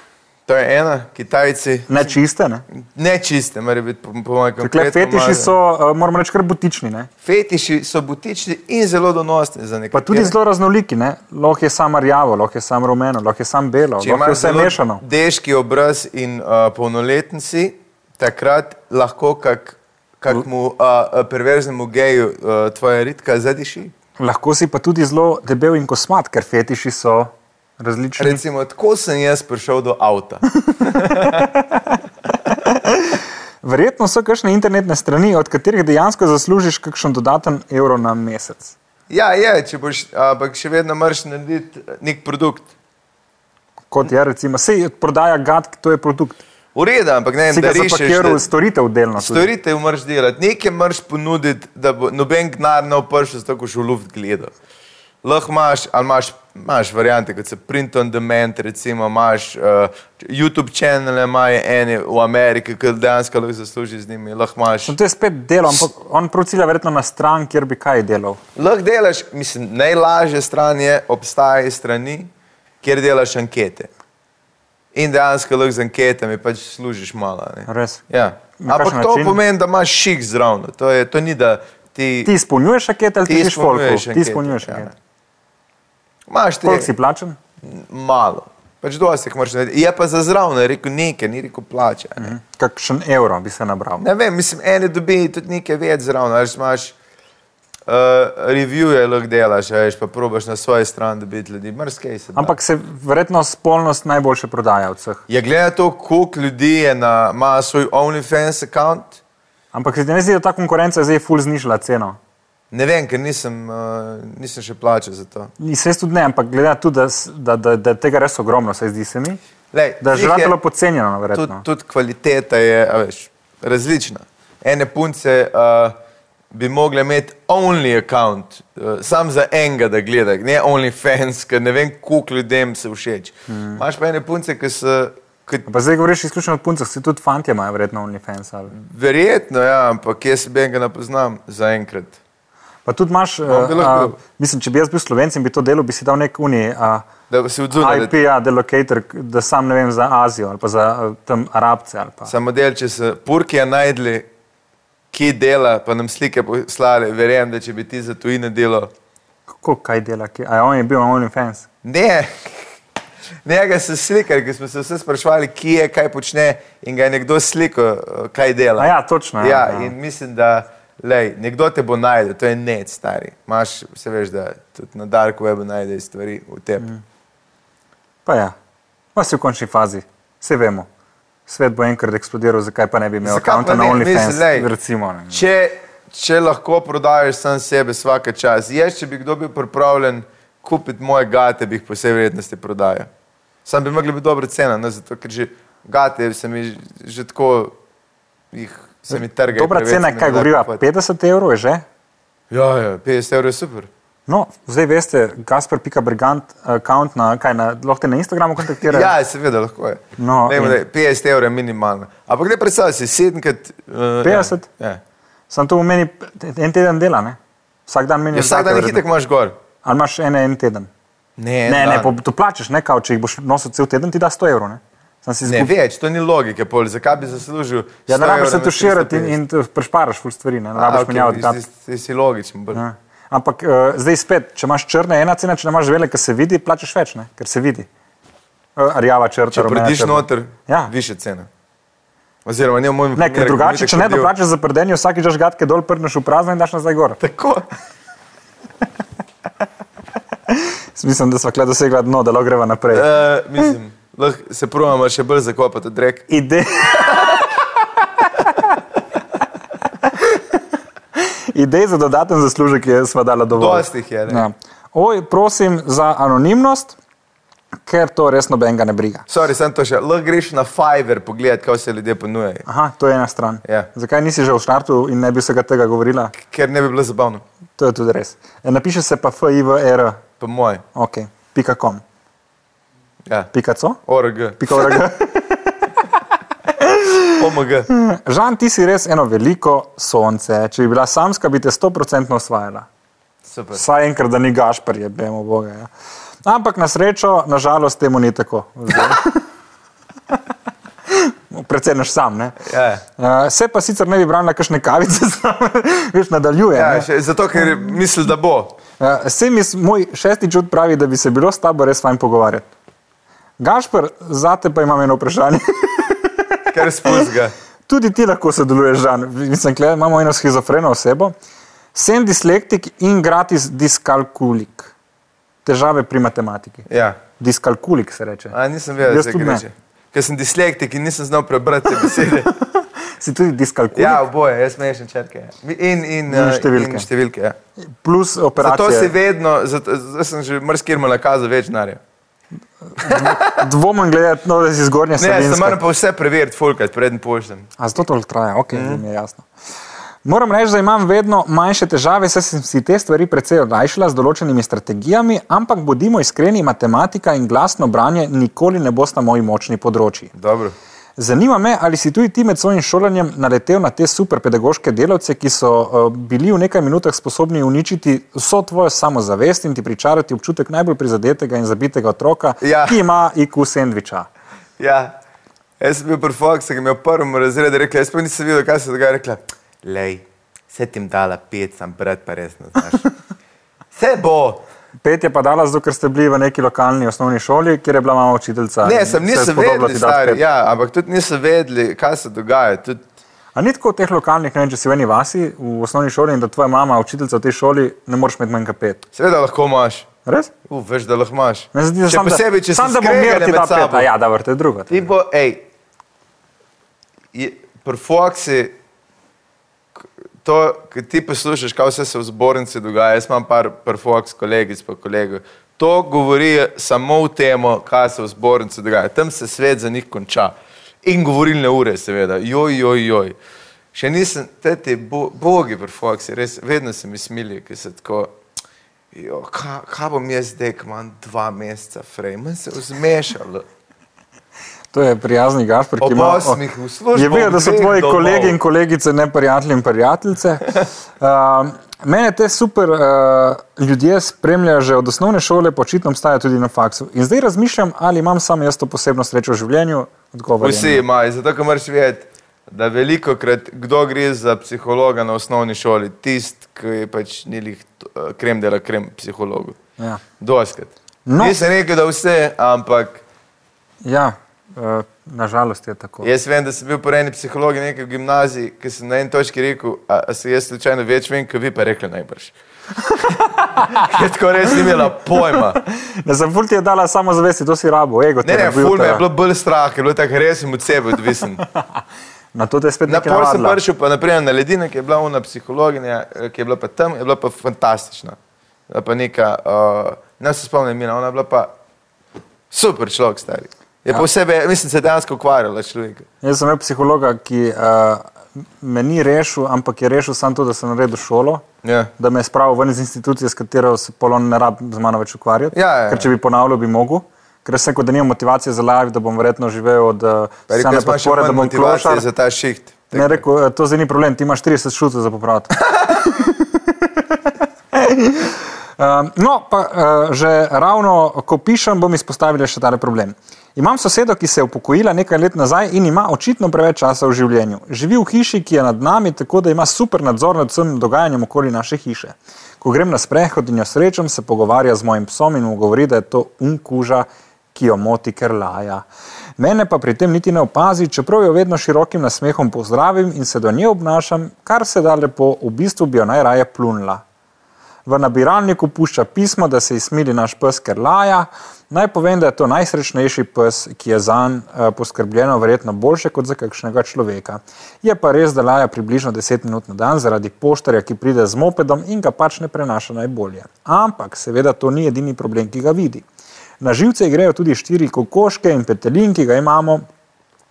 Speaker 1: to je ena, Kitajci,
Speaker 2: Ne čiste, ne?
Speaker 1: ne čiste, mora biti po, po mojem
Speaker 2: Tukaj
Speaker 1: konkretnem.
Speaker 2: fetiši so, eh, moram reči, kar butični. Ne?
Speaker 1: Fetiši so butični in zelo donosni za
Speaker 2: Pa
Speaker 1: nekatere.
Speaker 2: tudi zelo raznoliki. Ne? Lahko je samo rjavo, lahko je samo rumeno, lahko je samo belo,
Speaker 1: Če
Speaker 2: lahko je
Speaker 1: imaš
Speaker 2: vse
Speaker 1: zelo
Speaker 2: mešano.
Speaker 1: Deški obraz in uh, polnoleten si, takrat lahko kak, kakmu uh, perverznemu geju uh, tvoja ritka zadiši.
Speaker 2: Lahko si pa tudi zelo debel in kosmat, ker fetiši so različni.
Speaker 1: Recimo, tako sem jaz prišel do avta.
Speaker 2: Verjetno so kakšne internetne strani, od katerih dejansko zaslužiš kakšen dodaten evro na mesec.
Speaker 1: Ja, je, če boš, ampak še vedno moraš narediti nek produkt.
Speaker 2: Kot je recimo, sej prodaja GAT, to je produkt.
Speaker 1: Ureda, ampak ne, vem,
Speaker 2: Si
Speaker 1: da
Speaker 2: ga
Speaker 1: rešiš.
Speaker 2: zapakiral v storitev delno. tudi.
Speaker 1: Storitev moraš delati, nekaj moraš ponuditi, da bo noben gnar ne opršil, zato ko šuluft gleda. Lahko imaš, ali imaš, imaš variante, kot so print on demand, recimo imaš uh, YouTube kanale, imajo ene v Ameriki, ki dejansko lahko zasluži z njimi. Lahko imaš,
Speaker 2: No, to je spet delo, ampak on prav cilja verjetno na stran, kjer bi kaj delal.
Speaker 1: lahko delaš, mislim, najlažje stran je, obstajajo strani, kjer delaš ankete. In dejansko lahko z anketami pač služiš malo. a ne.
Speaker 2: Res.
Speaker 1: Ja.
Speaker 2: Na kakšen
Speaker 1: Ampak to
Speaker 2: način?
Speaker 1: pomeni, da imaš šik zraven. To, je- to ni, da ti.
Speaker 2: Ti izpolnjuješ ankete ali ti greš folko?
Speaker 1: izpolnjuješ
Speaker 2: Ti
Speaker 1: ankete,
Speaker 2: izpolnjuješ
Speaker 1: ja, ne.
Speaker 2: ankete.
Speaker 1: ja. Imaš te
Speaker 2: Koliko si plačen?
Speaker 1: malo. Pač dosti jih moraš narediti. Je pa za zraven, je rekel nekaj, ni rekel plače. a Ne.
Speaker 2: Hm? Kakšen evro bi se nabral?
Speaker 1: ne vem, mislim, ene dobi tudi nekaj več zraven, ali imaš uh, revije, lahko delaš, a veš, pa probaš na svoji strani dobiti ljudi. Mrskej se. da.
Speaker 2: Ampak se verjetno spolnost najboljše prodaja od vseh.
Speaker 1: Je gledal to, koliko ljudi je na, ima svoj OnlyFans račun.
Speaker 2: Ampak se ti ne zdi, da ta konkurenca je zdaj ful znižala ceno?
Speaker 1: Ne vem, ker nisem, uh, nisem še plačal za to.
Speaker 2: In Se jaz tudi ne, ampak glede na to, da, s- da, da, da je tega res ogromno, se zdi se mi,
Speaker 1: Lej,
Speaker 2: da je
Speaker 1: glih
Speaker 2: žratelj podcenjeno, no,
Speaker 1: Tudi
Speaker 2: verjetno.
Speaker 1: tud kvaliteta je a veš, različna. Ene punce uh, bi mogle imeti only account, uh, sam za enega, da gleda, ne only fans, ker ne vem, koliko ljudem se všeč. Mm. Imáš pa ene punce, ki so. ki
Speaker 2: Pa zdaj govoriš izključno o puncah, se tudi fantje imajo verjetno OnlyFans. Ali.
Speaker 1: Verjetno, ja, ampak jaz enega ne poznam zaenkrat.
Speaker 2: Pa tudi imaš, no,
Speaker 1: bi lahko
Speaker 2: a, a,
Speaker 1: delal.
Speaker 2: mislim, če bi jaz bil slovenc in bi to delo, bi si dal nek uni. A,
Speaker 1: Da se odzovem,
Speaker 2: IP, ja, delocator, k- da sam ne vem za Azijo ali pa za a, tam Arabce. ali Pa.
Speaker 1: samo del, če se Purkija najdli, ki dela, pa nam slike poslali, verjamem, da če bi ti za tujine delo.
Speaker 2: Kako kaj dela, ki, a ja, on je bil OnlyFans.
Speaker 1: Ne, njega so slikali, ker smo se vsi sprašvali, kje je, kaj počne in ga je nekdo slikal, eh, kaj dela.
Speaker 2: A ja, točno, ja,
Speaker 1: Ja,
Speaker 2: ja.
Speaker 1: in mislim, da lej, nekdo te bo najdel, to je nec, stari. Maš, se veš, da tudi na Dark Webu najdeš stvari v tebi. Mm.
Speaker 2: Pa ja, pa si v končni fazi, vse vemo. Svet bo enkrat eksplodiral, zakaj pa ne bi imel
Speaker 1: Zakaj pa
Speaker 2: akonta na
Speaker 1: ne?
Speaker 2: OnlyFans.
Speaker 1: Mislim, lej.
Speaker 2: Recimo, ne.
Speaker 1: Če, če lahko prodajaš sam sebe vsake čas, jaz, če bi kdo bil pripravljen kupiti moje gate, bi jih po vsej verjetnosti prodajal. Sam bi mogli biti dobra cena, no, zato ker že gate se mi že- že tako jih se mi trgajo.
Speaker 2: Dobra
Speaker 1: preveč
Speaker 2: cena
Speaker 1: se
Speaker 2: je,
Speaker 1: mi
Speaker 2: kaj
Speaker 1: ne da
Speaker 2: govoriva,
Speaker 1: kupovati.
Speaker 2: 50 evrov je že?
Speaker 1: Ja, ja, 50 evrov je super.
Speaker 2: No, zdaj veste, Gaspar Pika Brigant, account na, kaj, na, lahko te na Instagramu kontaktirajo.
Speaker 1: Ja, seveda lahko je.
Speaker 2: No,
Speaker 1: Dajmo,
Speaker 2: in-
Speaker 1: da je 50 evrov je minimalno. Ampak ne predstavljaj si, 7 krat. Uh,
Speaker 2: 50?
Speaker 1: Ja.
Speaker 2: Sam to pomeni, en teden dela, ne? Vsak dan meni
Speaker 1: ja. Vsak dan je
Speaker 2: verjetno.
Speaker 1: hitek imaš gor.
Speaker 2: Ali imaš ene en teden?
Speaker 1: Ne, en
Speaker 2: Ne, ne,
Speaker 1: dan.
Speaker 2: po, to plačeš, ne, kao, če jih boš nosil cel teden, ti da 100 evrov. Ne, Samo si
Speaker 1: ne
Speaker 2: izgubil.
Speaker 1: več, to ni logike. Pol. Zakaj bi zaslužil?
Speaker 2: Ja, ne
Speaker 1: 100
Speaker 2: rabiš
Speaker 1: evrov
Speaker 2: se
Speaker 1: na
Speaker 2: tuširati in,
Speaker 1: 350?
Speaker 2: in t- prešparaš ful stvari, ne, ne
Speaker 1: A,
Speaker 2: rabiš
Speaker 1: okej,
Speaker 2: okay, menjavati.
Speaker 1: ti-
Speaker 2: gat.
Speaker 1: ti- Ti si logičen. bolj.
Speaker 2: Ja. Ampak uh, zdaj spet, če imaš črne, ena cena, če ne imaš velike, se vidi, plačeš več, ne, ker se vidi. Uh, rjava črta,
Speaker 1: Če
Speaker 2: rumena
Speaker 1: pridiš
Speaker 2: črta.
Speaker 1: noter,
Speaker 2: Ja.
Speaker 1: više cena. Oziroma, ne v mojem
Speaker 2: Ne, ker
Speaker 1: primeru, ko mi
Speaker 2: drugače,
Speaker 1: itak
Speaker 2: če ne
Speaker 1: hodil-
Speaker 2: doplačaš za prdenje, vsakič daš gatke dol, prneš v prazno in daš nazaj gor.
Speaker 1: Tako.
Speaker 2: Mislim, da smo kle dosegla dno, da lahko greva naprej.
Speaker 1: Uh, mislim, lahko se provamo še bolj zakopati, drek.
Speaker 2: Ide... Idej za dodaten zaslužek je sva dala dovolj.
Speaker 1: Dosti jih je, ne.
Speaker 2: Ja. Oj, prosim za anonimnost, ker to res nobenega ne briga.
Speaker 1: Sorry, sem to še. Lahko greš na Fiverr pogledati, kaj se ljudje ponujajo.
Speaker 2: Aha, to je ena stran.
Speaker 1: Ja.
Speaker 2: Zakaj nisi že v štartu in ne bi vsega tega govorila?
Speaker 1: Ker ne bi bilo zabavno,
Speaker 2: To je tudi res. E, Napiše se pa FIVR,
Speaker 1: po moje.
Speaker 2: E ok, pika kom,
Speaker 1: Ja.
Speaker 2: pika co,
Speaker 1: ORG,
Speaker 2: pika vrg.
Speaker 1: OMG.
Speaker 2: Žan, ti si res eno veliko sonce. Če bi bila samska, bi te 100% osvajala.
Speaker 1: Super.
Speaker 2: Vsaj enkrat, da ni gašpar, je bemo boga. Ja. Ampak na srečo, nažalost, temu ni tako. Zdaj. Predvsem naš sam. Ne?
Speaker 1: Ja.
Speaker 2: Uh, se pa sicer ne bi branila kakšne kavice, samo več nadaljuje.
Speaker 1: Ja,
Speaker 2: ne.
Speaker 1: še, zato, ker misli, da bo.
Speaker 2: Uh, se mi s- moj šesti čut pravi, da bi se bilo s tabo res fajn pogovarjati. Gašpar, zate pa imam eno vprašanje.
Speaker 1: Ker spuzga.
Speaker 2: Tudi ti lahko sodeluješ, Žan. Mislim, da imamo eno schizofreno osebo. Sem dislektik in gratis diskalkulik. Težave pri matematiki.
Speaker 1: Ja.
Speaker 2: Diskalkulik se reče.
Speaker 1: A, nisem vedel, da
Speaker 2: Jaz
Speaker 1: se
Speaker 2: tudi ne.
Speaker 1: gre. Ker sem dislektik in nisem znal prebrati te besede.
Speaker 2: Si tudi diskalkulik,
Speaker 1: Ja,
Speaker 2: ja.
Speaker 1: oboje, jaz smešam črke. In, in,
Speaker 2: In
Speaker 1: eh,
Speaker 2: številke.
Speaker 1: In številke ja.
Speaker 2: plus
Speaker 1: Zato si
Speaker 2: operacije.
Speaker 1: vedno, zato, zato sem že marsikjer mu nakazal več denarja.
Speaker 2: Dvomim glede, no, da si zgornja
Speaker 1: Ne, sem moram
Speaker 2: sredina.
Speaker 1: pa vse preveriti, fulkrat, preden pošljem.
Speaker 2: A zato to traja, ok, mm. mi je jasno. Moram reči, da imam vedno manjše težave, saj sem si te stvari precej odlajšala z določenimi strategijami, ampak bodimo iskreni, matematika in glasno branje nikoli ne bosta moji močni področji.
Speaker 1: Dobro.
Speaker 2: Zanima me, ali si tudi ti med svojim šolanjem naletel na te super pedagoške delavce, ki so uh, bili v nekaj minutah sposobni uničiti vso tvojo samozavest in ti pričarati občutek najbolj prizadetega in zabitega otroka,
Speaker 1: Ja.
Speaker 2: ki ima IQ sendviča.
Speaker 1: Ja, jaz sem bil pri Foxu, ki mi je v prvem razredu rekel, jaz pa nisem videl, kaj se dogaja. Rekla, lej, se ti jim dala pet, sam brat pa res ne znaš. Vse bo.
Speaker 2: Pet je pa dala, zato ker ste bili v neki lokalni osnovni šoli, kjer je bila mama učiteljica. in
Speaker 1: Ne, sem
Speaker 2: se je
Speaker 1: nisem
Speaker 2: spodobila
Speaker 1: vedel,
Speaker 2: ti dati
Speaker 1: stari,
Speaker 2: pet.
Speaker 1: ja, ampak tudi nisem vedel, kaj se dogaja. Tudi,
Speaker 2: A ni tako v teh lokalnih, ne vem, če si v eni vasi, v osnovni šoli in da tvoja mama učiteljica v tej šoli ne moreš imeti manj kot pet.
Speaker 1: seveda lahko imaš,
Speaker 2: Res?
Speaker 1: Uf, veš, da lahko imaš.
Speaker 2: Meni se zdi, da
Speaker 1: Še
Speaker 2: samo da-
Speaker 1: posebej, če si
Speaker 2: samo da bo mir ti da pet. A Ja, da vrte druga.
Speaker 1: Ti bo, hej, pri Foxu, to, ki ti poslušaš, kaj vse se v zbornici dogaja, jaz imam par pri Fox kolegic in kolegov. To govori samo o tem, kaj se v zbornici dogaja. Tam se svet za njih konča. In govorilne ure, seveda, joj, joj, joj. Še nisem, te ti bo, bogi pri Foxu, res, vedno se mi smili, ki se tako. Jo, kaj, kaj bom jaz zdaj, ko imam dva meseca, frej, meni se je zmešalo.
Speaker 2: To je prijazni Gašpor,
Speaker 1: Ob
Speaker 2: ki ima
Speaker 1: osmih v službo,
Speaker 2: Je videl, da so
Speaker 1: ob dveh
Speaker 2: tvoji
Speaker 1: domov.
Speaker 2: kolegi in kolegice ne prijatelji in prijateljice. Uh, mene te super uh, ljudje spremljajo že od osnovne šole, počitno obstaja tudi na faksu. In zdaj razmišljam, ali imam samo jaz to posebno srečo v življenju. Odgovor je
Speaker 1: Vsi
Speaker 2: ne.
Speaker 1: imajo, zato ker moraš vedeti, da veliko krat kdo gre za psihologa na osnovni šoli, tisti, ki je pač ni lih eh, krem dela krem psihologu.
Speaker 2: Ja.
Speaker 1: Doskrat.
Speaker 2: No.
Speaker 1: No. Nisem rekel, da vse, ampak
Speaker 2: Ja, uh, nažalost je tako.
Speaker 1: jaz vem, da sem bil po eni psihologi nekaj v gimnaziji, ki sem na eni točki rekel, a, a se jaz slučajno več vem, kot vi pa rekli najbrž. Ker tako res ni imela pojma.
Speaker 2: Ne, za ful ti je dala samo zavesti, to si rabo, ego. te
Speaker 1: Ne, ne,
Speaker 2: nabil,
Speaker 1: ful me je
Speaker 2: te-
Speaker 1: bilo bolj strah, ker je bilo tako res sem od sebe odvisen.
Speaker 2: Na to te je spet
Speaker 1: Na
Speaker 2: nekaj
Speaker 1: pol sem
Speaker 2: navadila.
Speaker 1: prišel, pa naprej na ledine, ki je bila ona psihologinja, eh, ki je bila pa tam, je bila pa fantastična. Je bila Pa neka, uh, ne se spomnim imena, ona je bila pa super človek, stari. Je ja. pa vsebe, mislim, se je dejansko ukvarjala s človekom.
Speaker 2: Jaz sem imel psihologa, ki uh, me ni rešil, ampak je rešil samo to, da sem naredil šolo.
Speaker 1: Ja.
Speaker 2: Da me je spravil ven iz institucije, s katero se polon ne rabi z mano več ukvarjati.
Speaker 1: Ja, ja, ja.
Speaker 2: Ker če bi ponavljal, bi mogel. Ker sem kot da nimam motivacije za live, da bom verjetno živel od eh,
Speaker 1: Pa rekel,
Speaker 2: same
Speaker 1: jaz imam še
Speaker 2: podpore, da
Speaker 1: manj
Speaker 2: bom
Speaker 1: motivacije
Speaker 2: klošar.
Speaker 1: za ta šiht.
Speaker 2: Ne, rekel, eh, to zdaj ni problem, ti imaš 30 šutov za popraviti. Um, no, pa uh, že ravno ko pišem, bom izpostavila še tale problem. Imam sosedo, ki se je upokojila nekaj let nazaj in ima očitno preveč časa v življenju. Živi v hiši, ki je nad nami, tako da ima super nadzor nad vsem dogajanjem okoli naše hiše. Ko grem na sprehod in jo srečam, se pogovarja z mojim psom in mu govori, da je to unkuža, ki jo moti, ker laja. Mene pa pri tem niti ne opazi, čeprav jo vedno širokim nasmehom pozdravim in se do nje obnašam, kar se da lepo, v bistvu bi jo najraje plunila. V nabiralniku pušča pismo, da se izmili naš pes Kerlaja. Naj povem, da je to najsrečnejši pes, ki je za njega poskrbljeno, verjetno boljše kot za kakšnega človeka. Je pa res, da laja približno 10 minut na dan zaradi poštarja, ki pride z mopedom in ga pač ne prenaša najbolje. Ampak seveda to ni edini problem, ki ga vidi. Na živce ji grejo tudi štiri kokoške in petelin, ki ga imamo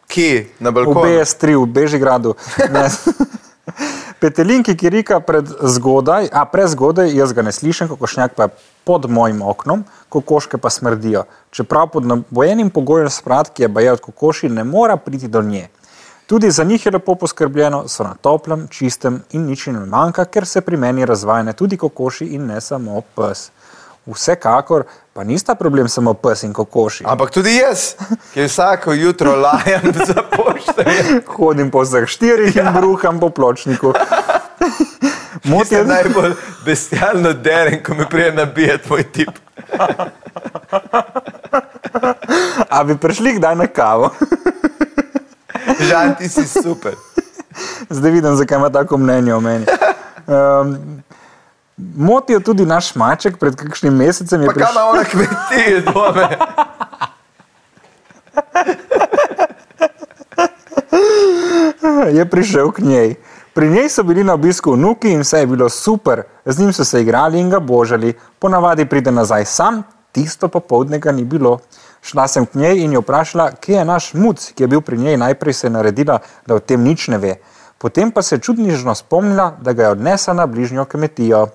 Speaker 1: Ki? Na
Speaker 2: v
Speaker 1: balkonu?
Speaker 2: BS3 v Bežigradu. Ne. Petelinki, ki rika pred zgodaj, a prezgodaj, jaz ga ne slišim, kokošnjak pa je pod mojim oknom, kokoške pa smrdijo. Čeprav pod nabojenim pogojem smrad, ki je baje od kokoši, ne mora priti do nje. Tudi za njih je lepo poskrbljeno, so na toplem, čistem in nič jim ne manjka, ker se pri meni razvajene tudi kokoši in ne samo pes. Vsekakor pa nista problem samo pes in kokoši.
Speaker 1: Ampak tudi jaz, ki vsako jutro lajam za poštarje.
Speaker 2: Hodim po vseh štirih
Speaker 1: Ja.
Speaker 2: in bruham po pločniku. Moti
Speaker 1: Mislim, najbolj bestialno deren, ko me prije nabijati moj tip.
Speaker 2: A bi prišli kdaj na kavo?
Speaker 1: Žan, ti si super.
Speaker 2: Zdaj vidim, zakaj ima tako mnenje o meni. Um, motijo tudi naš maček, pred kakšnim mesecem je
Speaker 1: Pa kam
Speaker 2: prišel.
Speaker 1: ima ona kmetije dome?
Speaker 2: je prišel k njej. Pri njej so bili na obisku vnuki in vse je bilo super, z njim so se igrali in ga božali. Ponavadi pride nazaj sam, tisto popovdne ga ni bilo. Šla sem k njej in jo vprašala, kje je naš muc, ki je bil pri njej najprej se je naredila, da o tem nič ne ve. Potem pa se je čudnižno spomnila, da ga je odnesla na bližnjo kmetijo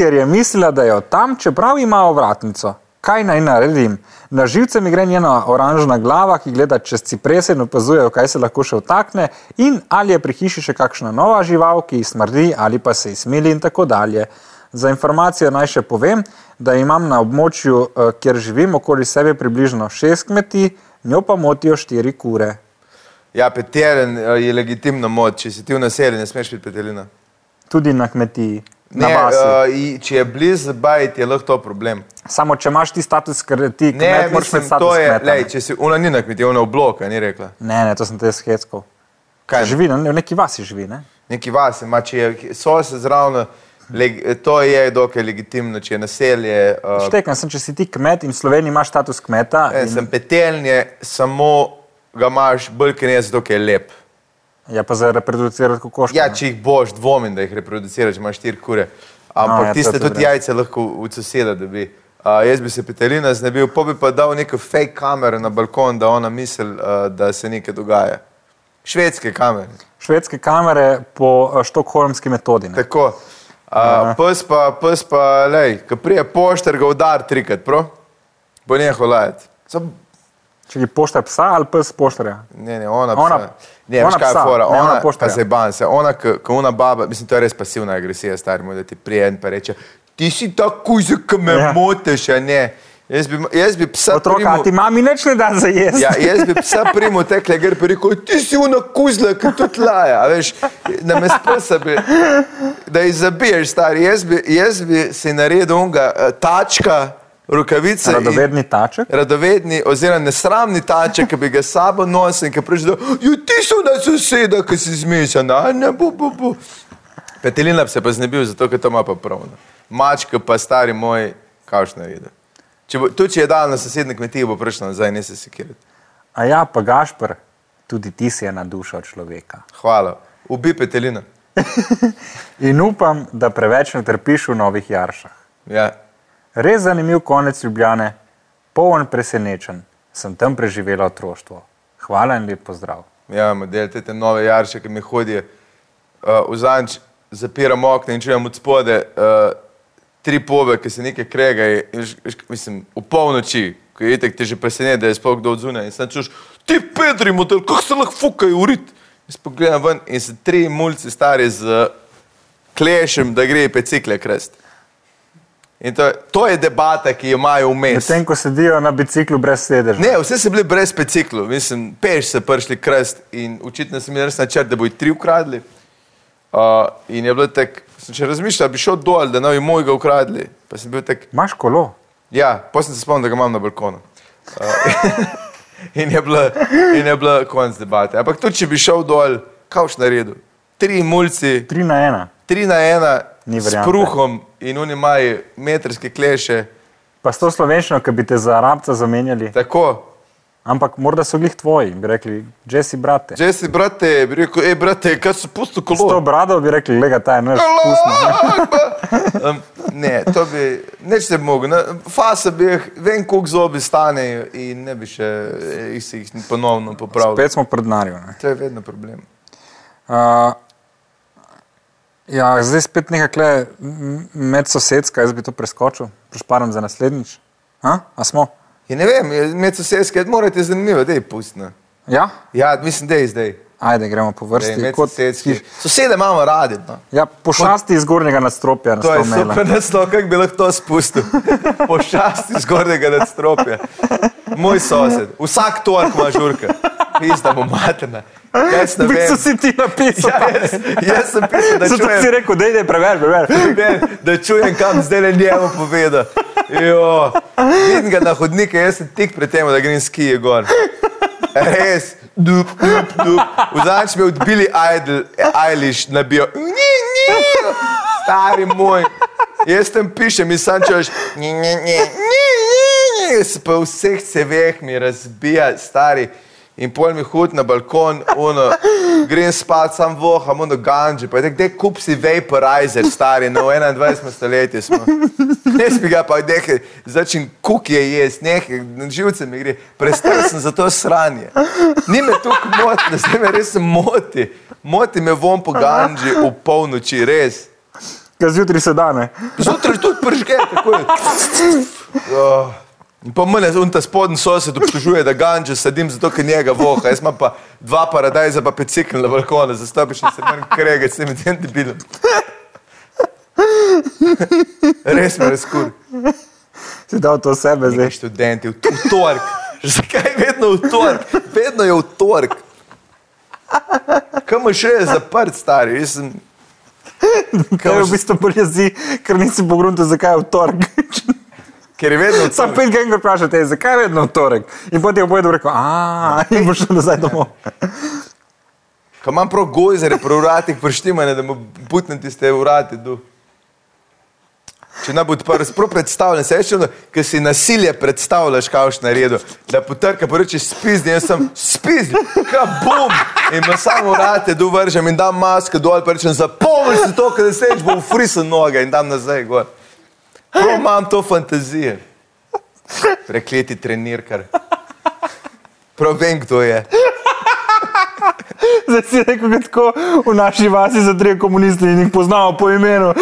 Speaker 2: ker je mislila, da je od tam, čeprav ima ovratnico. Kaj naj naredim? Na živce mi gre njena oranžna glava, ki gleda čez ciprese in opazuje, kaj se lahko še vtakne, in ali je pri hiši še kakšna nova žival, ki ji smrdi ali pa se ji smili in tako dalje. Za informacijo naj še povem, da imam na območju, eh, kjer živim, okoli sebe približno šest kmetij, njo pa motijo štiri kure.
Speaker 1: Ja, peteren eh, je legitimno mod, če si ti v naselju, ne smeš biti petelina.
Speaker 2: Tudi na kmetiji. Na
Speaker 1: Ne,
Speaker 2: vasi.
Speaker 1: eh, i- če je blizu bajt, je lahko to problem.
Speaker 2: Samo če imaš ti status, ker ti
Speaker 1: Ne,
Speaker 2: kmet, moraš
Speaker 1: mislim,
Speaker 2: imeti
Speaker 1: to
Speaker 2: status
Speaker 1: je,
Speaker 2: kmeta. ne.
Speaker 1: lej, če si ona ni na kmetiji, ona je v bloku, a ni rekla.
Speaker 2: Ne, ne, to sem te sketskal.
Speaker 1: Kaj?
Speaker 2: Živi na v neki vasi, živi. Ne?
Speaker 1: Neki vas ima, če je sosed zraven, leg- to je dokaj legitimno, če je naselje. eh,
Speaker 2: Štekam sem, če si ti kmet in v Sloveniji imaš status kmeta.
Speaker 1: Ne,
Speaker 2: in,
Speaker 1: sem petelj, je samo ga imaš bolj kot ne, zato ker je lep.
Speaker 2: ja, pa za reproducirati kokoške.
Speaker 1: Ja,
Speaker 2: ne.
Speaker 1: če jih boš, dvomim, da jih reproduciraš, imaš štiri kure. Ampak
Speaker 2: No, ja,
Speaker 1: no,
Speaker 2: to
Speaker 1: tiste
Speaker 2: je
Speaker 1: tudi
Speaker 2: dobro.
Speaker 1: jajce lahko od soseda dobi. Uh, jaz bi se petelina znebil, pa bi pa dal neko fake kamero na balkon, da ona misli, uh, da se nekaj dogaja. Švedske kamere.
Speaker 2: Švedske kamere po eh, štokholmski metodi. ne.
Speaker 1: Tako. Uh, pes pa, pes pa, lej, ko prije pošter ga udar trikrat, pro, bo nehal lajati. Samo
Speaker 2: Če ti poštar psa ali pes poštarja.
Speaker 1: Ne, ne, ona,
Speaker 2: Ona-
Speaker 1: psa. ne,
Speaker 2: ona
Speaker 1: veš kaj je
Speaker 2: psa,
Speaker 1: fora,
Speaker 2: ne, ona
Speaker 1: ona, ona
Speaker 2: poštarja.
Speaker 1: se ban se, ona, ko ona baba, mislim, to je res pasivna agresija, stari moj, da ti prije en pa reče, ti si tako, zakaj me
Speaker 2: Ja.
Speaker 1: ja. motiš, a ne. Jaz bi, jaz bi psa
Speaker 2: Otroka, a ti
Speaker 1: primu,
Speaker 2: mami nič ne da za jesti.
Speaker 1: ja, jaz bi psa primu tekle, ker bi rekel, ti si una kuzla, ki tudi laja, a veš, na me sposa bi, da jih zabiješ, stari, jaz bi, jaz bi si naredil unga, eh, tačka, rukavice in
Speaker 2: Radovedni taček.
Speaker 1: radovedni oziroma nesramni tače, ki bi ga s sabo nosil in ki prišel, da jo ti so na soseda, ki si zmešan, a ne bo, bo, bo. Petelina bi se pa znebil, zato ker to ima pa pravno. Mačka pa stari moj, kakšno je videl. Če bo, tudi če je dal na sosednje kmetije, bo prišel nazaj, ne se sekirati.
Speaker 2: A ja, pa Gašpr, tudi ti si ena duša od človeka.
Speaker 1: Hvala. Ubi petelina.
Speaker 2: In upam, da preveč ne trpiš v novih jaršah.
Speaker 1: Ja.
Speaker 2: Res zanimiv konec Ljubljane, poln presenečen. Sem tam preživela otroštvo. Hvala in lep pozdrav.
Speaker 1: ja, model, te, te nove jarše, ki mi hodijo. Uh, Vzanč, zapiram okna in čujem od spode uh, tri pobe, ki se nekaj kregajo. in veš- veš, Mislim, v polnoči, ko je itek, te že preseneča, da je spok kdo odzunaj. In sem čuš, ti Pedri, model, kako se lahko fukajo urit. Jaz pogledam ven in se tri mulci stari z uh, klešem, da gre pecikle krst. In to, je- to je debata, ki jo imajo vmes.
Speaker 2: Medtem ko sedijo na biciklu brez sedeža.
Speaker 1: Ne, vse so bili brez peciklu, mislim, peš so prišli krst in očitno sem jim res načrt, da bojo tri ukradli. Uh, in je bilo tako, sem še razmišljal, da bi šel dol, da ne bi mojega ukradli. Pa sem bil tak,
Speaker 2: Imaš kolo?
Speaker 1: ja, potem sem se spomnil, da ga imam na balkonu. Uh, in je bila, in je bila konc debate. Ampak tudi, če bi šel dol, kaj boš naredil? Tri mulci,
Speaker 2: Tri na ena.
Speaker 1: tri na ena,
Speaker 2: Ni
Speaker 1: s
Speaker 2: variante.
Speaker 1: kruhom in oni imajo metrske kleše,
Speaker 2: Pa s to slovenščino, ki bi te za arabca zamenjali.
Speaker 1: tako.
Speaker 2: Ampak morda so glih tvoji, bi rekli, že si brate.
Speaker 1: Že si, brate, bi rekel, hej, brate, kaj so pusto
Speaker 2: S to
Speaker 1: kolo?
Speaker 2: brado bi rekli, lega ta je naš
Speaker 1: Allah
Speaker 2: vkusno.
Speaker 1: Akbar. Um, ne, to bi, neč ne bi mogel. Na- Fase bi jih, vem, koliko zobi stanejo in ne bi še eh, jih, se jih ponovno popravil.
Speaker 2: Spet smo pred narjo. ne.
Speaker 1: To je vedno problem.
Speaker 2: Uh, ja, zdaj spet nekaj kle m- medsosedska, jaz bi to preskočil, prešparam za naslednjič. A, A smo?
Speaker 1: Ja, ne vem, je med sosedske, morate zanimivo, da je pustno.
Speaker 2: Ja?
Speaker 1: Ja, mislim, da je zdaj.
Speaker 2: Ajde, gremo po
Speaker 1: Daj,
Speaker 2: vrsti. Kot,
Speaker 1: medsosedski. Sosede imamo radi. No.
Speaker 2: ja, pošasti iz gornjega nadstropja na
Speaker 1: To je
Speaker 2: 100 mailov.
Speaker 1: super naslov, kako bi lahko to spustil. Pošasti zgornjega nadstropja. Moj sosed, vsak torek ima žurka, pizda bo materna. Jaz ne
Speaker 2: Bi
Speaker 1: vem.
Speaker 2: so si ti napisal.
Speaker 1: Ja, jaz, jaz sem pisal, da
Speaker 2: Zato si
Speaker 1: čujem,
Speaker 2: rekel, da je prever, prever.
Speaker 1: ne, da čujem, kam zdaj le njemu poveda. Jo, Vidim ga na hodnike, jaz sem tik pred tem, da grem skije gor. Res, dup, dup, dup. Vzanč me je odbili Idol, Eilish nabijo. Ni, ni, stari moj. Jaz tam pišem in sam češ, ni, ni, ni, ni, ni. Se pa vseh ceveh mi razbija, stari. In pol mi hud na balkon, ono, grem spat, sam voham, ono ganji. Pa je tako, kde kup si vaporizer, stari, no v 21. stoletju smo. Jaz bi ga pa nekaj, začin kukje jesti, nekaj, živce mi gre, prestar sem za to sranje. Ni me tako motno, zdaj me res moti. Moti me vom po ganji v polnoči, res.
Speaker 2: Kaj zjutraj se dane.
Speaker 1: Zjutraj tudi pržge, tako je. Oh. In pa mene, un ta spodnji sosed obtožuje, da ganče sedim zato, ker njega voha. Jaz imam pa dva paradajza, pa pecikl na balkonu, zastopiš in se moram kregati s tem tem debilom. Res me razkur.
Speaker 2: Si dal to sebe zdaj.
Speaker 1: Zdaj študenti, v, v torek. Zakaj vedno v torek? Vedno je v torek. Kam še je zaprt, stari? Jaz sem...
Speaker 2: To je
Speaker 1: Kaj
Speaker 2: Ja, v bistvu bolj jezi, ker nisi pogrunil, zakaj je v torek.
Speaker 1: Ker je vedno v
Speaker 2: Sam
Speaker 1: torek.
Speaker 2: pet gangov vprašate, zakaj je vedno v torek. In potem je obojedo rekel, aaa, in bo šel nazaj domov.
Speaker 1: Ko imam prav gojzere, prav vratih prštimane, da mu putnem tiste vrati. Du. Če ne bo odprl, si prav predstavljam, se še vedno, ker si nasilje predstavljaš, kaj boš naredil. Da potrka, pa reče spizni, jaz sem spizni, kabum! In pa samo vrate, du vržem in dam maske dol, pa rečem, zapomni si to, ker se ješ bo frisen noge in dam nazaj gor. Prav imam to fantazije. Prekleti trenirkar. Prav vem, kdo je.
Speaker 2: Zdaj si rekel, da tako v naši vasi za tri komuniste in jih poznamo po imenu.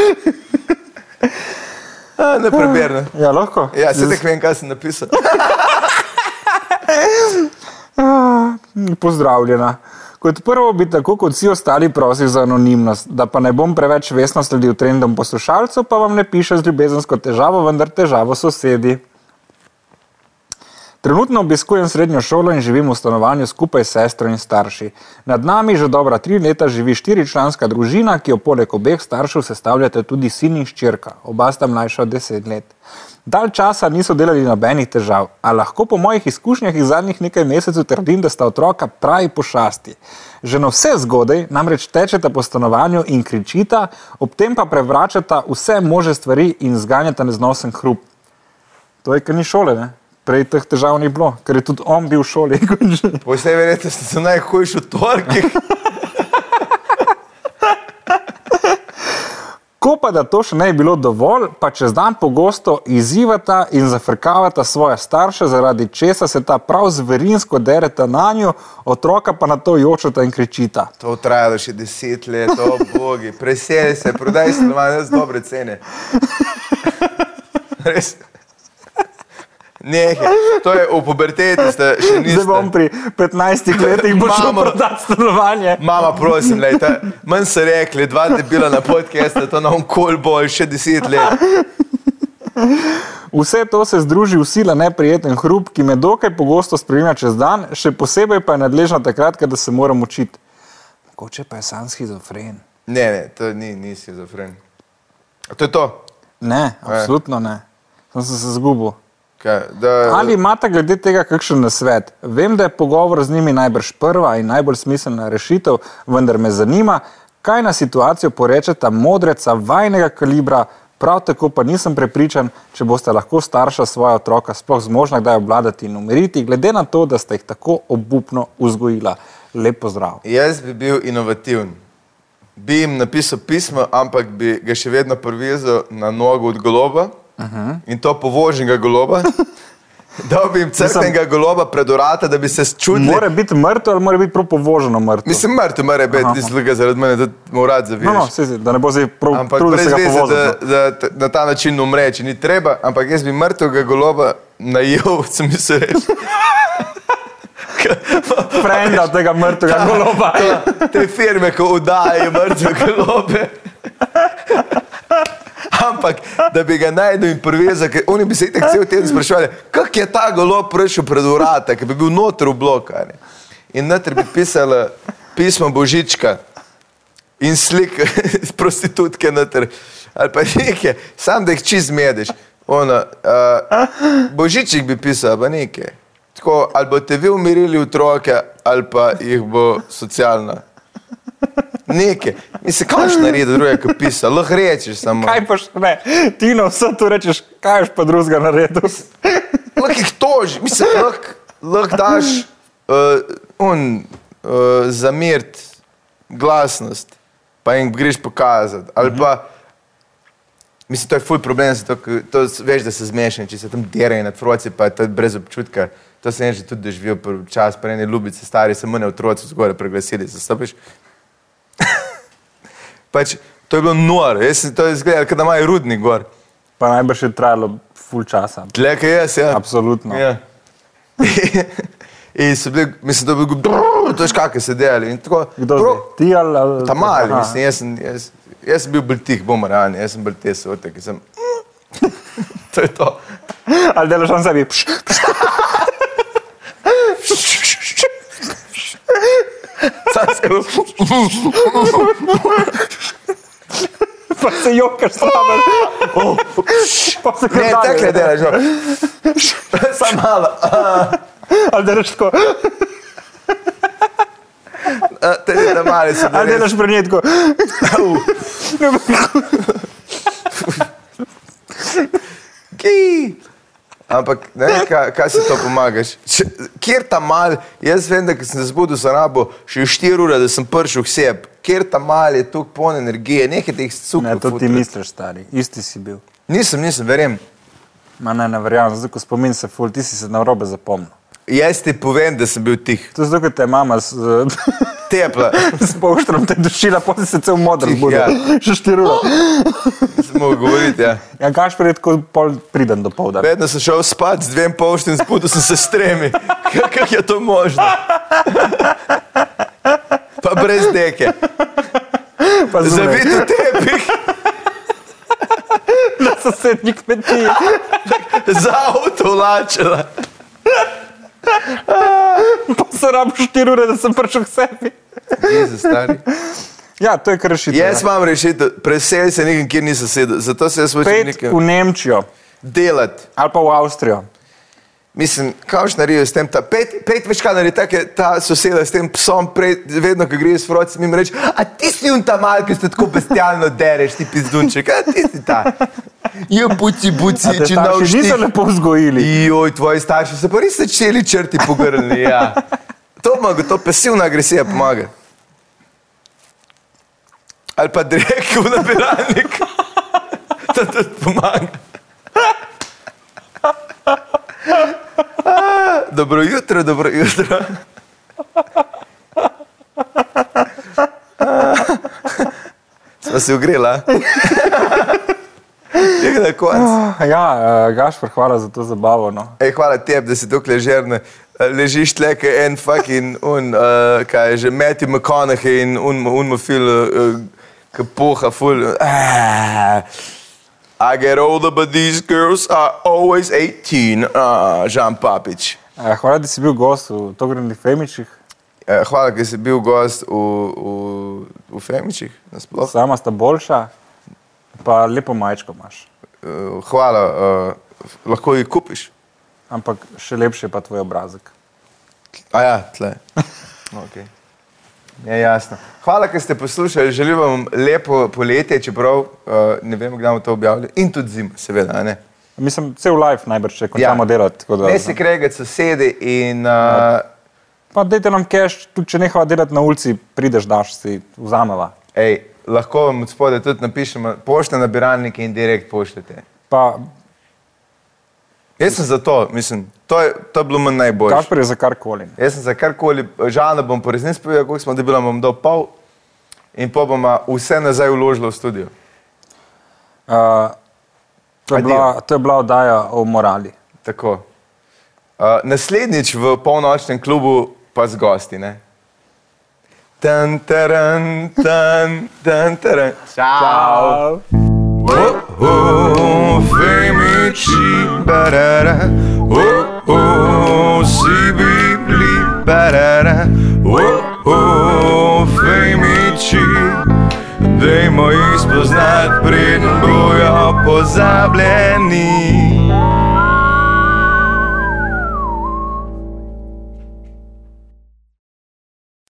Speaker 1: A, ne preberem.
Speaker 2: Ja, lahko.
Speaker 1: Ja, se tek vem, kaj sem napisal.
Speaker 2: hm, Pozdravljena. Kot prvo bi tako kot vsi ostali prosil za anonimnost, da pa ne bom preveč vesno sledil trendom poslušalcev, pa vam ne piše z ljubezensko težavo, vendar težavo sosedi. Trenutno obiskujem srednjo šolo in živim v stanovanju skupaj s sestro in starši. Nad nami že dobra tri leta živi štiričlanska družina, ki jo poleg obeh staršev sestavljata tudi sin in ščirka, oba sta mlajša od deset let. Dal časa niso delali nobenih težav, a lahko po mojih izkušnjah iz zadnjih nekaj mesecev trdim, da sta otroka pravi pošasti. Že na vse zgodaj namreč tečeta po stanovanju in kričita, ob tem pa prevračata vse može stvari in zganjata neznosen hrup. To je, ker ni šole, ne? prej teh težav ni bilo, ker je tudi on bil v šoli. kot že.
Speaker 1: Po vsej verjetnosti so najhujši v torkih.
Speaker 2: Ko pa da to še ne bi bilo dovolj, pa čez dan pogosto izzivata in zafrkavata svoje starše, zaradi česa se ta prav zverinsko dereta na njo, otroka pa na to jočeta in kričita.
Speaker 1: To je trajalo še deset let, o bogi, preseli se, prodaj stanovanje z dobre cene. Res. Nehaj, to je v puberteti, ste še
Speaker 2: Zdaj bom
Speaker 1: niste.
Speaker 2: pri 15 letih bo šel
Speaker 1: Mamo.
Speaker 2: prodati stanovanje.
Speaker 1: Mama, prosim, lejte, manj so rekli, dva debila na podkastu, to nam kol bolj še deset let.
Speaker 2: Vse to se združi v sila neprijeten hrup, ki me dokaj pogosto spremlja čez dan, še posebej pa je nadležna takrat, da se moram učiti. Mogoče pa je sam schizofren.
Speaker 1: Ne, ne, to ni, nisi za fren. To je to.
Speaker 2: Ne, absolutno ne. Sem se se zgubil.
Speaker 1: Kaj, da,
Speaker 2: Ali imate glede tega kakšen nasvet? Vem, da je pogovor z njimi najbrž prva in najbolj smiselna rešitev, vendar me zanima, kaj na situacijo porečeta modreca vajnega kalibra, prav tako pa nisem prepričan, če boste lahko starša svoja otroka sploh zmožna kdaj obvladati in umiriti, glede na to, da ste jih tako obupno vzgojila. Lep pozdrav.
Speaker 1: Jaz bi bil inovativen. Bi jim napisal pismo, ampak bi ga še vedno privezal na nogo od goloba uh -huh. in to povoženega goloba. Dal bi jim crkvenega goloba pred urata, da bi se čudili.
Speaker 2: Mora biti mrtev ali mora biti prav povoženo mrtev?
Speaker 1: Mislim, mrtev mora
Speaker 2: Aha.
Speaker 1: biti zlega zaradi mene, da mu urad zavira.
Speaker 2: no, no, saj, saj, da ne bo zdaj prav
Speaker 1: Ampak
Speaker 2: trudno
Speaker 1: brez
Speaker 2: se ga no.
Speaker 1: veze,
Speaker 2: povoziti.
Speaker 1: da, da t- na ta način umre, če ni treba, ampak jaz bi mrtvega goloba najel, sem jim se rekel.
Speaker 2: Frenda tega mrtvega goloba.
Speaker 1: te firme, ko udajajo mrtve globe. Ampak, da bi ga najdel in privezal, ker oni bi se itek cel teden spraševali, kako je ta golo prišel pred urata, ki bi bil noter v blokari. In noter bi pisala pismo Božička in slike prostitutke noter, ali pa neke, sam da jih čist zmedeš. Ona, uh, Božiček bi pisal, pa neke. Tako, ali boste vi umirili otroke, ali pa jih bo socialna. Neke. Mislim, kaj še naredi druge, kot pisa, lahko rečeš samo.
Speaker 2: Kaj pa še ne? Ti na vse to rečeš, kaj boš pa drugega naredil.
Speaker 1: Lahko jih toži, mislim, lahko lahko daš uh, un, uh, zamirt glasnost, pa jim greš pokazati. Ali pa, mislim, to je ful problem, zato, ker to s- veš, da se zmešane, če se tam derajo nad froci, pa je to brez občutka. To sem jaz že tudi doživel, pr- čas prej ne ljubice, stari, samo ne otroci zgoraj preglasili, zastopiš. pač, to je bilo noro, jaz sem to izgledal, kot da imajo rudnik gor.
Speaker 2: Pa najbrž je trajalo full časa.
Speaker 1: Tle, kaj jaz, ja.
Speaker 2: Absolutno.
Speaker 1: Ja. In so bili, mislim, da je bil brrr, to je škake se delali. in Tako,
Speaker 2: Kdo
Speaker 1: prav-
Speaker 2: zdaj? Ti ali... ali-
Speaker 1: Ta mali,
Speaker 2: Aha.
Speaker 1: mislim, jaz sem, jaz, jaz sem bil bolj tih, bom realen, jaz sem bolj te sorte, ki sem. "Mm." to je to.
Speaker 2: Ali delaš on sebi? Pš, pš.
Speaker 1: Sam se
Speaker 2: Pa se jokaš slaben. Pa se kar
Speaker 1: ne,
Speaker 2: dalje.
Speaker 1: tekle delaš, no. Sam malo.
Speaker 2: Ali delaš tako,
Speaker 1: A, Te te mali so
Speaker 2: ali
Speaker 1: bili. res-
Speaker 2: delaš brnjetko.
Speaker 1: Ki. Ampak ne vem, kaj, kaj si to pomagaš. Če, kjer ta mal, jaz vem, da ko sem se zbudil, sem rabo še 4 ure, da sem prišel k sebi. Kjer ta mal je tako poln energije, nekaj teh
Speaker 2: Ne,
Speaker 1: cukov.
Speaker 2: to ti
Speaker 1: futra.
Speaker 2: misliš, stari. Isti si bil.
Speaker 1: Nisem, nisem, verjem.
Speaker 2: Ma ne, ne verjamem, zdaj ko spomin se ful, ti si se na robe zapomnil.
Speaker 1: Jaz ti povem, da sem bil tih.
Speaker 2: To je zato, ker te je mama s,
Speaker 1: Tepla,
Speaker 2: s polštrom te dušila, potem si se cel modr
Speaker 1: Tih,
Speaker 2: zbudil.
Speaker 1: ja.
Speaker 2: Še štiri ure.
Speaker 1: smo govorili. Ja.
Speaker 2: Ja, Gašpor je tako pol priden do povdne.
Speaker 1: Vedno sem šel spat z dvem polštim, zbudil sem se s tremi. Kako je to možno? Pa brez deke,
Speaker 2: Pa
Speaker 1: zavit v tepih,
Speaker 2: na sosednji kmetiji.
Speaker 1: za avto vlačela.
Speaker 2: Pa se rabo 4 ure, da sem prišel k sebi.
Speaker 1: Jezus, stari.
Speaker 2: Ja, to je kar rešitev.
Speaker 1: Jaz
Speaker 2: ja.
Speaker 1: imam rešitev, preseli se nekam, kjer nisem sedel, zato se jaz hočem
Speaker 2: Pet
Speaker 1: nekaj
Speaker 2: v Nemčijo
Speaker 1: delati.
Speaker 2: ali pa v Avstrijo.
Speaker 1: Mislim, kaj še naredijo s tem? Ta, pet, pet več kaj naredi, tako je ta soseda s tem psom, prej, vedno, ko gre s frocem, jim reče, a ti si un ta mal, ki se tako bestialno dereš, ti pizdunček, a ti si ta. Je buci, buci,
Speaker 2: Te
Speaker 1: če
Speaker 2: starši niso
Speaker 1: naučiš.
Speaker 2: lepo vzgojili.
Speaker 1: Joj, tvoji starši so pa res začeli črti pogrnili, ja. To pomaga, to pasivna agresija pomaga. ali pa direkt v nabiralnik. To tudi pomaga. Ah, Dobro jutro, dobro jutro. Ah, Sva se ogrela. Je na koncu.
Speaker 2: Ja, Gašpor, hvala za to zabavo. No.
Speaker 1: Ej, hvala tebi, da si tako ležerne. Ležiš tle, kot en fucking, un, uh, kaj je že, Matthew McConaughey in un, un mu fil, uh, ki poha, ful.
Speaker 2: Eh,
Speaker 1: Uh, I get older, but these girls are always 18, uh, Žan Papič.
Speaker 2: Eh, Hvala, da si bil gost v Togrenih Femičih.
Speaker 1: Eh, Hvala, ker si bil gost v, v, v Femičih, nasploh.
Speaker 2: Sama sta boljša, pa lepo majčko imaš.
Speaker 1: Eh, Hvala, uh, lahko jih kupiš.
Speaker 2: Ampak še lepši je pa tvoj obrazek.
Speaker 1: A ja, tle. Okay. Je Ja, jasno. Hvala, ker ste poslušali. Želim vam lepo poletje, čeprav uh, ne vem, kdaj bomo to objavili. In tudi zimo, seveda. a Ne,
Speaker 2: Mislim, cel life najbrž, če končamo ja. delati. tako da-
Speaker 1: ne se kregati sosedi in uh,
Speaker 2: Pa dajte nam cash, tudi če nehava delati na ulici, prideš, daš si, vzameva.
Speaker 1: ej, lahko vam od spodaj tudi napišemo poštne nabiralnike in direkt pošljete.
Speaker 2: Pa
Speaker 1: Jaz sem za to, mislim, to je, to je bilo meni najbolje.
Speaker 2: Gašpor je za karkoli. Uh,
Speaker 1: Jaz sem za karkoli, žal bom po resnici povedal, koliko smo dobili, bom dal pol in pa bomo vse nazaj vložili v studio.
Speaker 2: Uh, to, je
Speaker 1: Adijo.
Speaker 2: bila, to je bila oddaja o morali.
Speaker 1: Tako. Uh, naslednjič v polnočnem klubu pa z gosti. Ne? Tan, taran, tan, tan, taran. Čau. Oh, oh, femiči, barara. Oh, oh, si bi bili, barara. Oh, oh, femiči. Dajmo jih spoznati, preden bojo pozabljeni.